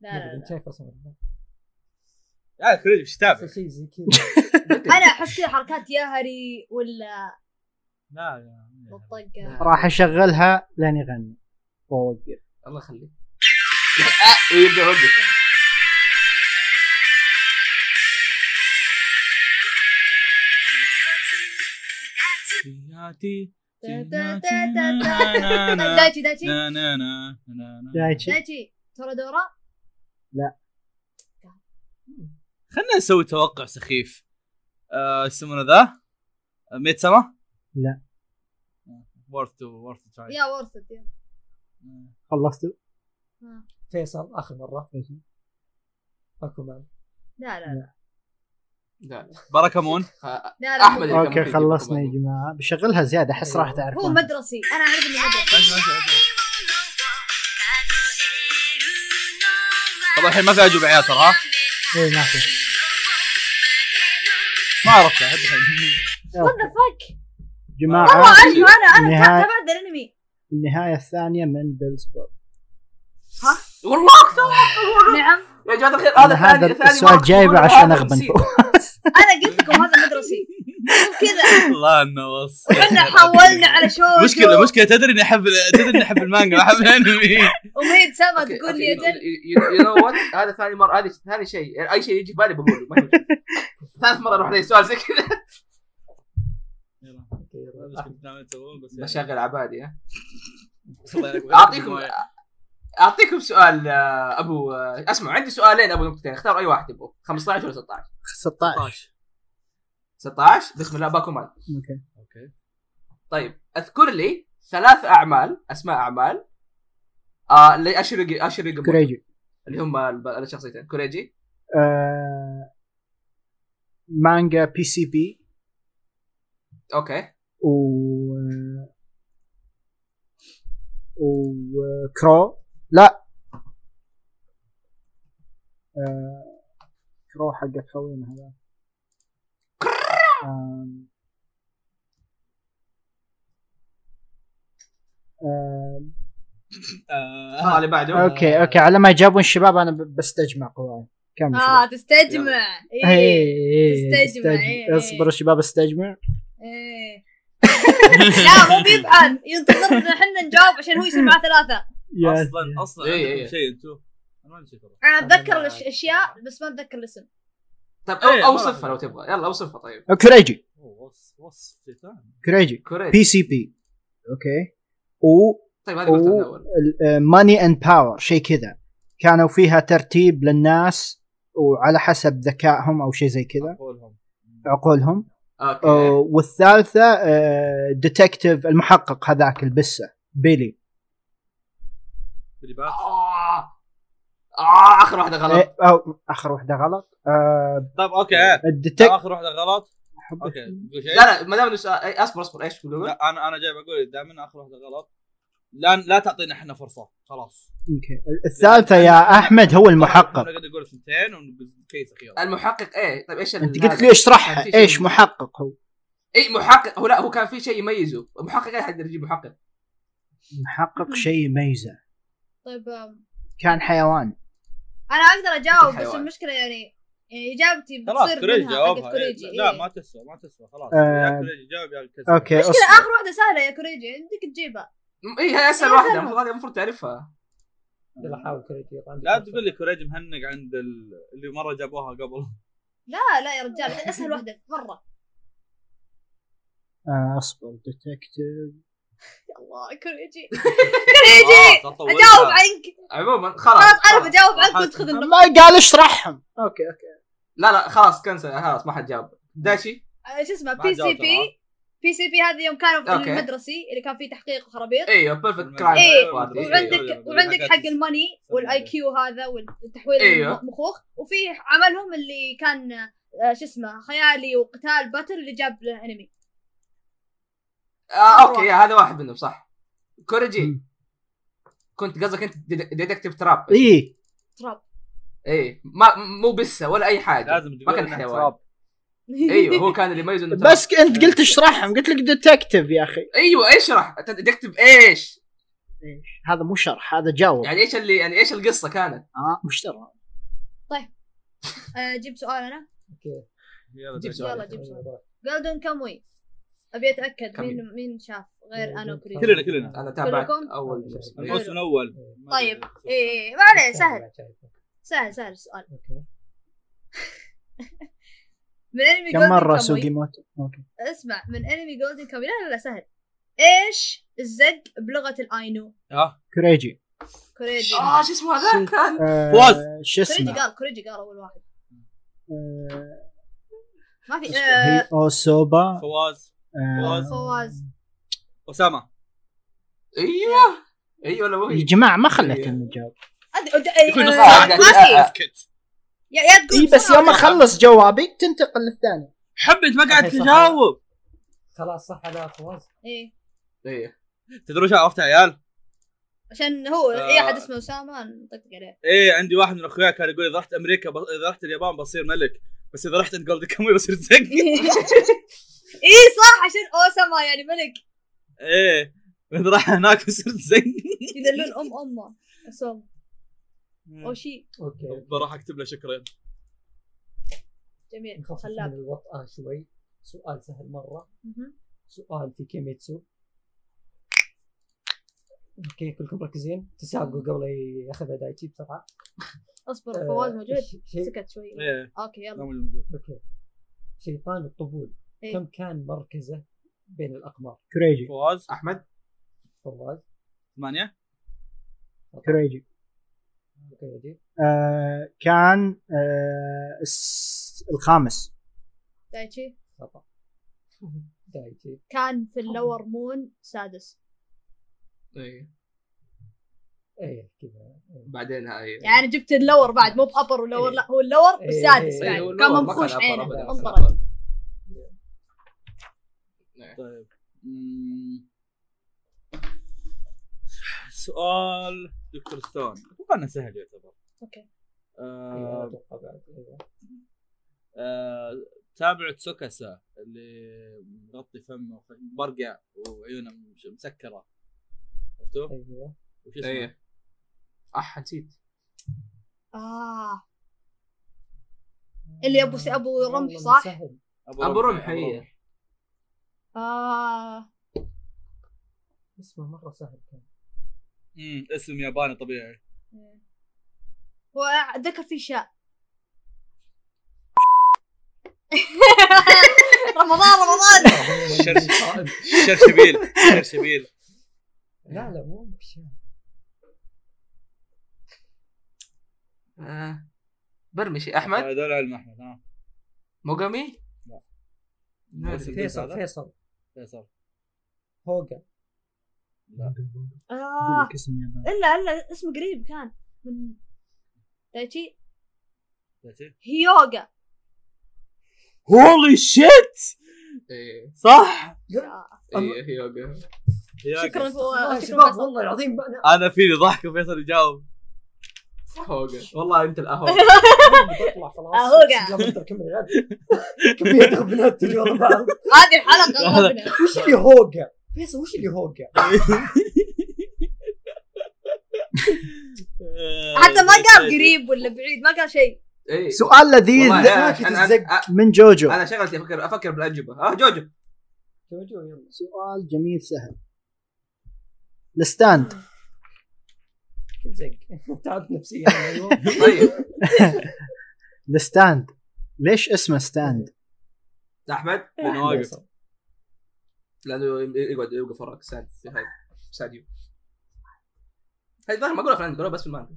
لا انت لا شايف رسم الألبوم. يا كريج ايش تابع؟ شيء زي كذا إيه. انا احس كذا حركات ياهري ولا لا لا الطقه راح اشغلها لين يغني واوقف الله يخليك آه، ويبدا يوقف حياتي دايتشي دايتشي دايتشي دايتشي تورادورا خلنا نسوي توقع سخيف آه، ايش يسمونه ذا؟ آه، ميت سما؟ لا. وورث تو وورث تراي يا ورثت يا خلصت ها. فيصل اخر مرة اكو مان لا لا لا لا باراكامون خ- لا لا احمد أحمد اللي كان اوكي ممكن خلصنا يا يجيب جماعه بشغلها زياده احس راح هو تعرفون مدرسي انا اعرف انه مدرسي طبعا الحين ما في اجوبه عيال ترى ها؟ إيه، ما في ما عرفتها حد الحين وات ذا فك والله جماعه اعرفه انا انا نهاية. تابعت ذا الانمي النهايه الثانيه من بيلسبورغ والله نعم يا جماعه الخير هذا أنا ثاني هذا ثاني السؤال مرة- جايبه مرة عشان هذا اغبن نسيت. فوق انا قلت لكم هذا مدرسي مو كذا والله انه وص احنا حولنا على شوجو مشكلة مشكلة تدري اني احب تدري اني احب المانجا ما احب الانمي وميد سما أوكي، تقول أوكي، لي اجل يو نو وات هذا ثاني مره هذه ثاني شيء اي شيء يجي في بالي بقوله ما في مشكلة. ثالث مره اروح عليه سؤال زي كذا اوكي يلا. ايش كنت ناوي تسوون بس يعني- بشغل عبادي ها الله يعينك. اعطيكم اعطيكم سؤال آه، ابو آه، اسمع عندي سؤالين ابو نقطتين اختار اي واحد تبغوا 15 ولا 16 16 16 بسم الله باكومان اوكي اوكي طيب اذكر لي ثلاث اعمال اسماء اعمال آه لاشرق اشرق كوريجي اللي هم الب- الشخصيتين كوريجي آه... مانجا بي سي بي اوكي و وكرو لا آه... كرو حق خوينا هذا آم، آم، آه آه، اللي بعده اوكي اوكي على ما يجابون الشباب انا ب- بستجمع قواي كم اه تستجمع إيه، اي إيه، إيه، تستجمع، إيه، إيه. اصبروا الشباب استجمع لا مو بيبحث ينتظرنا احنا نجاوب عشان هو يصير معاه ثلاثه يا اصلا اصلا إيه، إيه. عندكم شيء انتم انا ما عندي شيء ترى. انا اتذكر الأش- الاشياء بس ما اتذكر الاسم طيب أو- إيه، اوصفها مرة. لو تبغى يلا اوصفها طيب كريجي أوه، وصف وصف شيء ثاني كريجي كوريجي بي سي بي اوكي و طيب هذه قلتها من أوه. الاول uh, ماني اند باور شيء كذا كانوا فيها ترتيب للناس وعلى حسب ذكائهم او شيء زي كذا قولهم عقولهم اوكي آه، والثالثه ديتكتيف المحقق هذاك البسه بيلي اللي بعد آه. آه اخر واحده غلط آه، أو اخر واحده غلط آه، طيب اوكي آه. الديتك اخر واحده غلط اوكي بقول شيء؟ لا لا ما دام إنه سؤال إيه، اصبر اصبر ايش تقول؟ لا انا انا جاي بقول دائما اخر واحده غلط لا لا تعطينا احنا فرصه خلاص أوكي. الثالثه يا احمد هو المحقق انا قاعد اقول ثنتين وكيس اخيرا المحقق ايه طيب ايش ال- انت قلت هذا؟ لي اشرحها كان في شيء- ايش محقق هو اي محقق هو لا هو كان في شيء يميزه محقق اي حد يجيب محقق محقق شيء يميزه طيب آم، كان حيوان انا اقدر اجاوب بس حيوان. المشكله يعني يعني اجابتي خلاص بتصير كوريجي منها حقت جاوبها كوريجي إيه. لا إيه. ما تسوى ما تسوى خلاص آه. يا كوريجي جاوب يا كسر اوكي المشكله أصبر. اخر واحده سهله يا كوريجي يمديك تجيبها اي هي اسهل إيه، واحده سهلة. المفروض هذه المفروض تعرفها يلا حاول كريجي يلا عندك لا فرصة. تقول لي كوريجي مهنق عند ال- اللي مره جابوها قبل لا لا يا رجال اسهل واحده مره آه، اصبر ديتكتيف يا الله كوريجي كوريجي خلاص، طولنا. اجاوب عنك عموما خلاص خلاص انا بجاوب عنك وتاخذ ما النقطه قال اشرحهم اوكي اوكي لا لا خلاص كنسل خلاص ما حد جاوب داشي آه، شو اسمه ما بي سي جاوبت بي بي سي بي هذا يوم كانوا في أوكي. المدرسي اللي كان فيه تحقيق وخرابيط ايوه بيرفكت إيه، كرايم وعندك وعندك حق الماني والاي كيو هذا والتحويل أيوه. المخوخ وفي عملهم اللي كان آه، شو اسمه خيالي وقتال باتل اللي جاب له انمي آه اوكي يا هذا واحد منهم صح كوريجي مم. كنت قصدك انت ديتكتيف تراب اي تراب ايه ما مو بسه ولا اي حاجه لازم ما تقول كان إنه حيوان. تراب. ايوه أيوه. هو كان اللي يميزه انه تراب. بس انت قلت اشرحهم قلت لك ديتكتيف يا اخي ايوه اشرح ديتكتيف ايش؟ هذا مو شرح هذا جاوب يعني ايش اللي يعني ايش القصه كانت؟ اه مش ترى آه، جيب سؤال انا اوكي يلا جيب دايما. يلا جيب سؤال جولدن كاموي ابي اتاكد كاموي. مين مين شاف غير انا وكريم يعني كلنا- كلنا. انا تابعت كلكم؟ اول كلكم. الموسم الاول طيب اي ما عليه سهل سهل سهل السؤال اوكي من انمي كم Golden مره Kamuy- سوقي موت اوكي اسمع من انمي جولدن كاموي لا لا لا سهل ايش الزق بلغه الاينو ها كريجي كوريجي اه شو اسمه هذا كان آه، فوز. شو كوريجي اسمه قال كوريجي قال اول واحد آه، ما في هي آه، او سوبا فواز آه، فواز اسامه إيه. ايوه ايوه ولا مو يا هي؟ جماعه ما خليتني اجاوب أد- أد- آه، يكون آه، صعب. ما في يا يا اي تقول إيه، بس بسرعة. يوم اخلص جوابي تنتقل للثاني حبي انت ما قاعد أخي صح. تجاوب خلاص صح على فواز إيه، ايوه تدرون ايش عرفت يا عيال؟ عشان هو آه. اي احد اسمه اسامه نطقطق عليه ايه عندي واحد من اخوياي كان يقول اذا رحت امريكا ب... اذا رحت اليابان بصير ملك بس اذا رحت عند جولد كاموي بصير زق اي إيه، صح عشان اوسما يعني ملك ايه واذا راح هناك بصير زق يذلون ام امه اسامه او شيء اوكي راح اكتب له شكرا جميل نخفف من خلاب الوطأة شوي سؤال سهل مرة مهم. سؤال في كيميتسو اوكي كلكم مركزين تسابقوا قبل ياخذها دايتشي بسرعة اصبر آه، فواز موجود ش- شيء- سكت شوي ايه اوكي يلا لا موجود. اوكي شيطان الطبول إيه. كم كان مركزه بين الاقمار كريجي فواز احمد فواز ثمانية كريجي القيادي آه كان آه الس- الخامس دايتشي خطا دايتي كان في اللور مون سادس إيه. ايه كذا بعدين هاي يعني جبت اللور بعد مو بابر ولور لا هو اللور إيه. السادس إيه. بعد أيوة، يعني كان يعني، اللور ما منفوش كان عينه أبر أبداً. انطرد طيب مم. سؤال دكتور ستون اتوقع انه سهل يعتبر اوكي أيوة، آه اتوقع بعد أيوة. آه تابع تسوكاسا اللي مغطي فمه وخ- برقع وعيونه مش- مسكره عرفتوا؟ ايوه وش اسمه؟ ايه اح نسيت اه اللي أبو س- أبو والله رمح، إنه صح؟ سهل. ابو رمح ايه اه اسمه مره سهل كان مم، اسم ياباني طبيعي هو ذكر في شاء رمضان رمضان شرش- شرشبيل شرشبيل لا لا مو بشيء آه. برمشي احمد هذول علم احمد ها موغامي لا. لا. بس- فيصل هذا؟ فيصل فيصل هوجا آه الا الا اسمه قريب كان من دايتشي دايتشي؟ هيوغا هولي شيت إيه، ايه صح آه. ايه يوغا شكرا والله يا فواز شباب والله العظيم ما- أنا- انا فيني ضحك وفيصل يجاوب هوغا والله انت الاهو بتطلع خلاص أهوجا. لا ما تركب الغد كمية غبنات تجي ورا بعض هذه الحلقه غبنة. وش اللي هوجا؟ فيصل وش اللي هوجا؟ آه، حتى ما قال قريب ولا بعيد ما قال شيء ايه سؤال لذيذ والله يا- ساكت أنا- أنا- الزق. أ- من جوجو انا شغلتي افكر افكر بالاجوبه اه جوجو جوجو يلا سؤال جميل سهل الستاند كل زق تعبت أيوه. نفسيا أنا اليوم. طيب الستاند ليش اسمه ستاند؟ احمد أنا واقف. فيصل. لانه يقعد يوقف وراك ساد هاي ساديو هاي الظاهر ما اقولها في الانمي اقولها بس في المانجا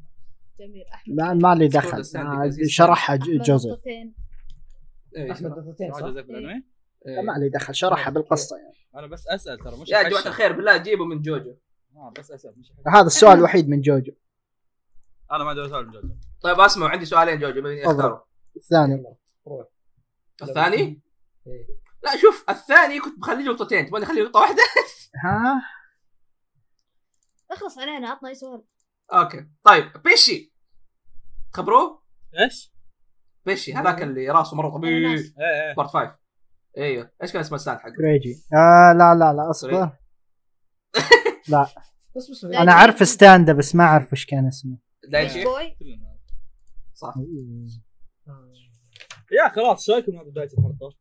جميل احمد ما ما لي Stand دخل is stand أنا because it's شرحها ج- أحمد جوزيف نقطتين. ايه احمد شرح. نقطتين صح؟ جوزيف بالانمي إيه. ما لي دخل شرحها بالقصه يعني انا بس اسال ترى مش يا أحشر. جماعه الخير بالله جيبوا من جوجو آه، بس اسال مش أحشر. هذا السؤال الوحيد من جوجو انا ما ادري اسال جوجو طيب اسمعوا عندي سؤالين جوجو بيني اختاروا الثاني يلا روح الثاني إيه. لا شوف الثاني كنت بخليه نقطتين تبغى اخليه نقطه واحده ها اخلص علينا عطنا اي سؤال اوكي طيب بيشي خبروه ايش؟ بيشي هذاك اللي راسه مره طبيعي أناناس. ايه ايه بارت 5 ايوه ايش كان اسمه الساعد حقه؟ كريجي آه لا لا لا اصبر بس بس لا. انا اعرف ستاند بس ما اعرف ايش كان اسمه دايتشي بوي كلنا. صح آه، يا خلاص شايكم هذا بدايه الحلقه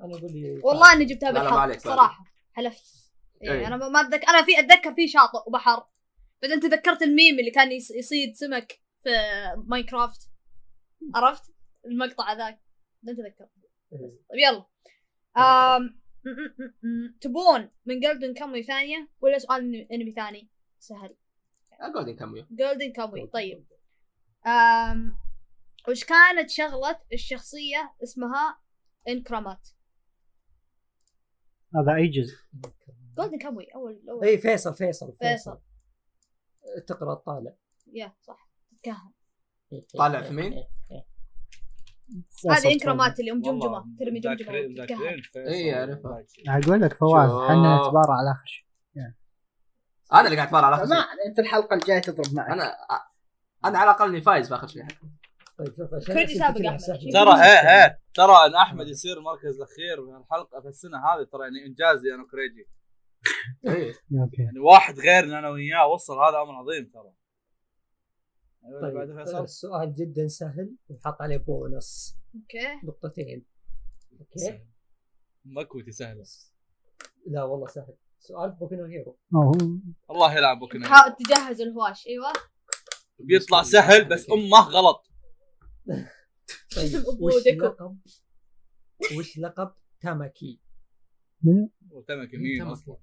انا اقول لي والله اني جبتها لا، لا، ما بالحظ عليك، ما صراحه حلفت إيه. إيه. انا ما- ما اتذكر انا في اتذكر في شاطئ وبحر بعدين تذكرت الميم اللي كان يص- يصيد سمك في ماينكرافت عرفت المقطع ذاك بعدين تذكرت إيه. طيب يلا أم... م- م- م- م. تبون من جولدن كاموي ثانيه ولا سؤال انمي ثاني سهل اقعد نكمل جولدن كاموي طيب أم... وش كانت شغله الشخصيه اسمها انكرامات هذا اي جزء جولدن كاموي اول إيه. اول اي إيه، فيصل فيصل طيب. فيصل. تقرا طالع يا صح تتكهن طالع في مين؟ آه، هذه انكرامات اللي ام جمجمه والله ترمي مذاكرين- جمجمه مذاكرين وتتكهن فيصل إيه، أعرفها. ودايتشي. اقول لك فواز شوف. احنا نتبارى على اخر شيء انا اللي قاعد اتفرج على اخر شيء ما انت الحلقه الجايه تضرب معك انا أ- انا على الاقل اني فايز في اخر شيء طيب شوف عشان طيب، كريجي سابق أحمد. ترى ايه ايه ترى ان احمد يصير مركز الاخير من الحلقه في السنه هذه ترى يعني انجاز لي انا وكريجي ايه اوكي يعني واحد غيرنا انا وياه وصل هذا امر عظيم ترى أيوة، اللي بعده طيب فيصل السؤال جدا سهل ونحط عليه بونص اوكي نقطتين اوكي مكوتي سهله لا والله سهل سؤال بوكينو هيرو أوه. الله يلعن بوكينا تحاول تجهز الهواش ايوه بيطلع سهل بس امه غلط طيب أبو وش ديكو. لقب وش لقب تاماكي والتمك يمين تمك. اصلا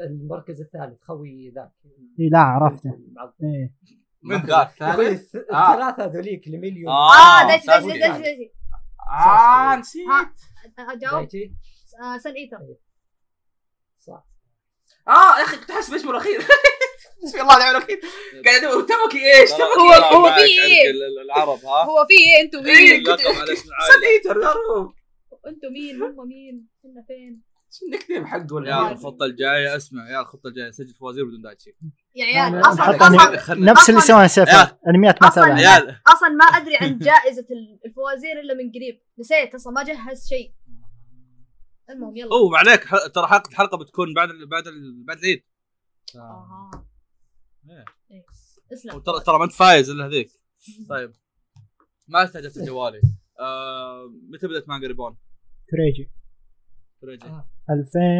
المركز الثالث خوي ذاك إي، إيه، لا عرفته معض- ايه من ذاك يا أخوي ثالث آه. الث- الثلاثه هذوليك لمليون اه دش ساسكي. دش دش دش اه نسيت ها اجاوب دايتي آه، سن ايتر صح اه يا اخي كنت احسب اسمه الاخير بسم الله الرحمن الرحيم قاعد ادور تمكي ايش تمكي هو- هو معك في عندك إيه؟ ال- ال- العرب ها هو في ايه انتم إيه، مين كنت- اللقب على اسم العائلة. سن ايتر معروف انتم مين هم مين كنا فين شو النكتيم حقه ولا يا إيه؟ الخطه الجاية اسمع يا الخطة الجاية سجل فوازير بدون دايتشي يا عيال أنا- اصلا حط اصلا خلنا نفس اللي أصلاً- سواه سيفا انميات ما أصلاً- تابع يا- عيال اصلا ما ادري عن جائزه الفوازير الا من قريب نسيت اصلا ما جهز شيء المهم يلا اوه ما عليك ح- ترى حلقة الحلقة بتكون بعد ال- بعد ال- بعد العيد اها إيه. آه. إيه. اسلم ترى ترى ما انت فايز الا هذيك طيب ما استعجلت بجوالي آه، متى بدات مانجا ريبون؟ كريجي فريجي. آه.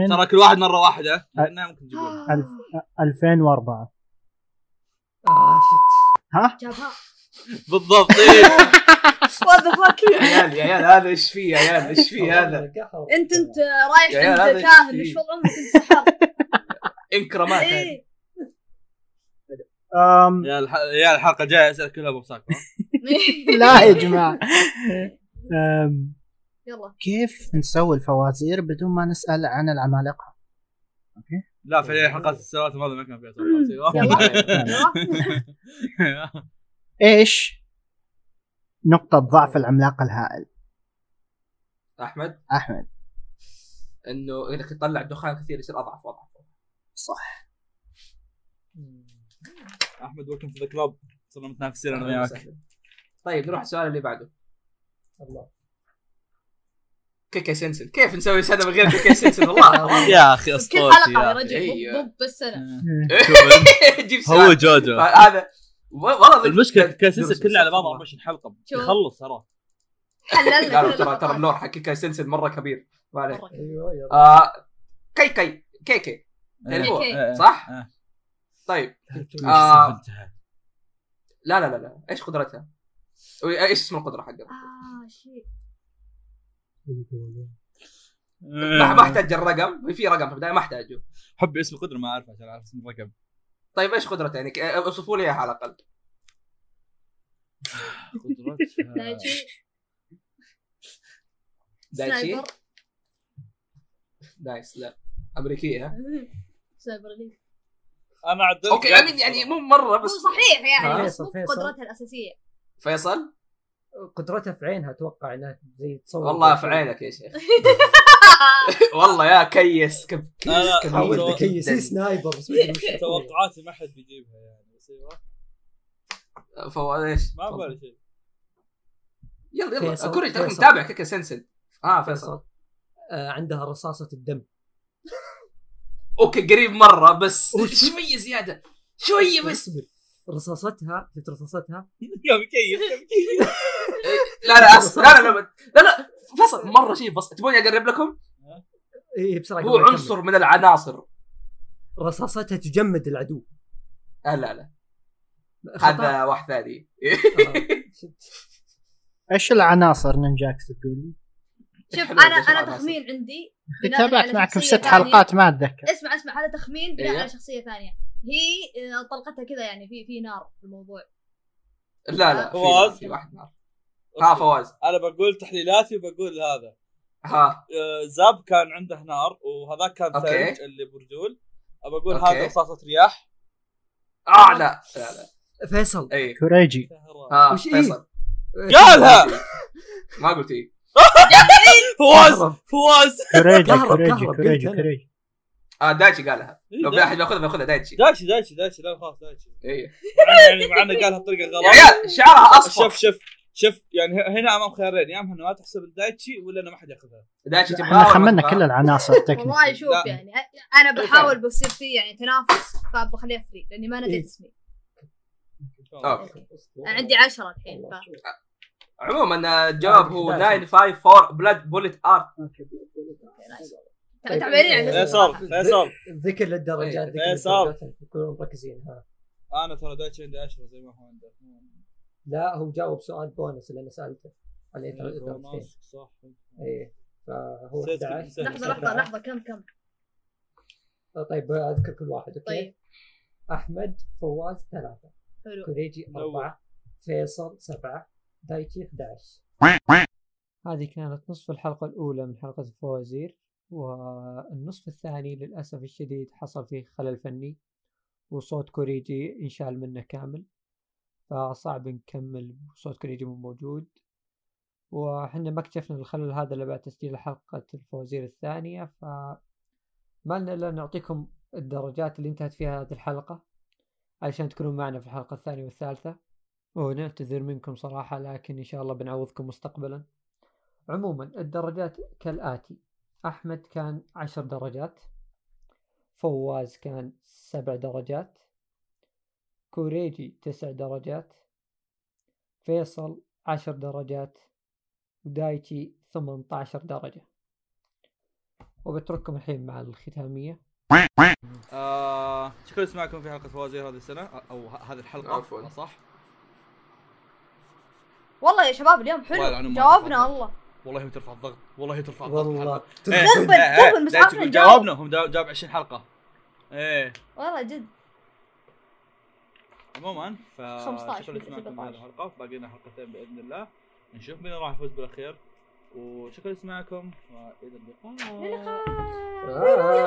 2000 ترى كل واحد مره واحده لانها ممكن تقول آه، ألف. 2004 آه، اه شت ها جابها بالضبط إيه. وات ذا فاك يا عيال يا عيال هذا ايش فيه يا عيال ايش فيه هذا قهوة. انت انت يا رايح عيال عند هذا كاهن شيء. ايش والله عمرك انت سحر انكرمات هذه. إيه. أم، يا الح- يا الحلقه الجايه اسال كلها ابو ساكو إيه. لا يا جماعه أم، يلا كيف نسوي الفوازير بدون ما نسال عن العمالقه؟ لا فعليا حلقات السنوات الماضيه ما كان فيها يلا. تفاصيل. يلا. ايش نقطه ضعف العملاق الهائل احمد احمد انه انك تطلع الدخان كثير يصير اضعف واضعف احمد ويلكم في ذا كلوب صرنا متنافسين انا وياك طيب نروح السؤال اللي بعده الله كيكا سنسن كيف نسوي سنه من غير كيكا سنسن والله يا اخي بس كل اسطورتي حلقه يا يا رجل أيوة. ضب- ضب السنه شوف، جيب هو سؤال جوجو هذا والله المشكله درس- كاسس كلها على بعضها والله. 24 حلقه شوف. يخلص ترى حللنا لا كل لا، ترى ترى الأخطاء. اللور حق كيكا سنسن مره كبير ما عليك مرة. ايوه يلا آه، كي كي كي كي تعرفوه، كي. صح؟ يعني آه. طيب آه. آه. لا لا لا لا ايش قدرتها؟ ايش اسم القدره حقها؟ اه شيء آه. ما آه، ما احتاج الرقم في رقم في البدايه ما احتاجه حبي اسم قدر ما اعرفه عشان اعرف اسم الرقم طيب ايش قدرتها يعني ك- اوصفوا لي اياها على الاقل قدرتها دايتشي دايتشي سنايبر نايس لا امريكيه ها؟ سنايبر لي انا عدلت اوكي يعني يعني مو مره هو بس صحيح يعني ها؟ بس مو فيصل. قدرتها الاساسيه فيصل قدرتها في عينها اتوقع انها زي تصور والله في عينك يا شيخ والله يا كيس كب كيس أنا- كبير حاول حاولت تكيس جداً. إيه، سنايبر بس ما أدري وش يكون. توقعاتي ما حد بيجيبها يعني بس ايوه فو ايش؟ ما بالي شيء يلا يلا فيصل، كوري تراك فيصل. متابع كيكا سنسن اه فيصل فيصل آه عندها رصاصة الدم اوكي قريب مره بس وش- شويه زياده شويه بس اصبر رصاصتها شفت رصاصتها يا مكيف لا لا أص... لا لا لا لا لا فصل مره شيء بس تبوني اقرب لكم اي إيه، بسرعة هو قبل ما أكمل. عنصر من العناصر رصاصتها تجمد العدو آه لا لا خطأ. هذا واحد ثاني آه، شفت. ايش العناصر نينجاكس تقول؟ شوف حلوة انا بس انا العناصر. تخمين عندي بناء على تابعت معكم شخصية ست ثانية. حلقات ما اتذكر اسمع اسمع هذا تخمين بناء أيوة. على شخصيه ثانيه هي آه، طلقتها كذا يعني في في نار في الموضوع لا لا في, فواز. في واحد نار ها فواز انا بقول تحليلاتي وبقول هذا ها آه، زاب كان عنده نار وهذاك كان أوكي. ثلج اللي برجول ابى اقول أوكي. هذا رصاصه رياح اه لا لا لا فيصل اي كوريجي ها وش إيه؟ إيه. آه، فيصل قالها ما قلت ايه فواز فواز كوريجي كهرب، كوريجي كهرب، كوريجي قلت أنا. كوريجي اه دايتشي قالها لو في احد بياخذها بياخذها دايتشي دايتشي دايتشي دايتشي لا خلاص دايتشي اي مع إنه- يعني مع انه قالها بطريقه يا غلط عيال شعرها شوف اصفر شوف شوف يعني ه- هنا امام خيارين يا اما ما تحسب الدايتشي ولا انه ما حد ياخذها دايتشي تبغاها احنا ولا ما خمنا تبغاها؟ كل العناصر والله تكنيكال شوف لا. طيب. يعني أ- انا إيه بحاول بصير فيه يعني تنافس فبخليها فري لاني ما إيه. نديت اسمي اوكي عندي عشرة الحين ف... عموما آه، الجواب هو دايتشي. 954 بلاد بولت ارت تع- تعبانين على الاسم فيصل صراحة. فيصل ذكر للدرجات ذكر فيصل. للدرجات، يكونوا مركزين ها انا ترى دايتشي عندي 10 زي ما هو عنده لا هو جاوب سؤال بونس اللي انا سالته عليه إيه، درجتين صح ايه فهو نسيت- 11 نسيت. إيه. لحظة لحظة لحظة كم كم طيب اذكر كل واحد اوكي طيب احمد فواز ثلاثه حلو كوريجي نور. اربعه فيصل سبعه دايتشي 11 هذه كانت نصف الحلقة الأولى من حلقة الفوازير والنصف الثاني للأسف الشديد حصل فيه خلل فني وصوت كوريجي انشال منه كامل فصعب نكمل صوت كوريجي مو موجود وحنا ما اكتشفنا الخلل هذا إلا بعد تسجيل حلقة الفوازير الثانية فما لنا إلا نعطيكم الدرجات اللي انتهت فيها هذه الحلقة علشان تكونوا معنا في الحلقة الثانية والثالثة ونعتذر منكم صراحة لكن إن شاء الله بنعوضكم مستقبلا عموما الدرجات كالآتي أحمد كان عشر درجات فواز كان سبع درجات كوريجي تسع درجات فيصل عشر درجات ودايتشي ثمانية عشر درجة وبترككم الحين مع الختامية آه شكرا لسماعكم في حلقه فوازير هذه السنه او ه- هذه الحلقه عفواً. صح والله يا شباب اليوم والله حلو العظيم ما جاوبنا تفضل. الله والله ترفع الضغط والله ترفع الضغط والله الحلقة. إيه، تخرب تخربن، إيه، إيه، تخربن، بس لا عارفين تقول نجاوب. جاوبنا هم جاوب جاوب 20 حلقه ايه والله جد عموما ف 15 شكرا لسماعكم ولا 17. هذه الحلقه باقي لنا حلقتين باذن الله نشوف مين راح يفوز بالاخير وشكرا لسماعكم والى اللقاء للقاء آه.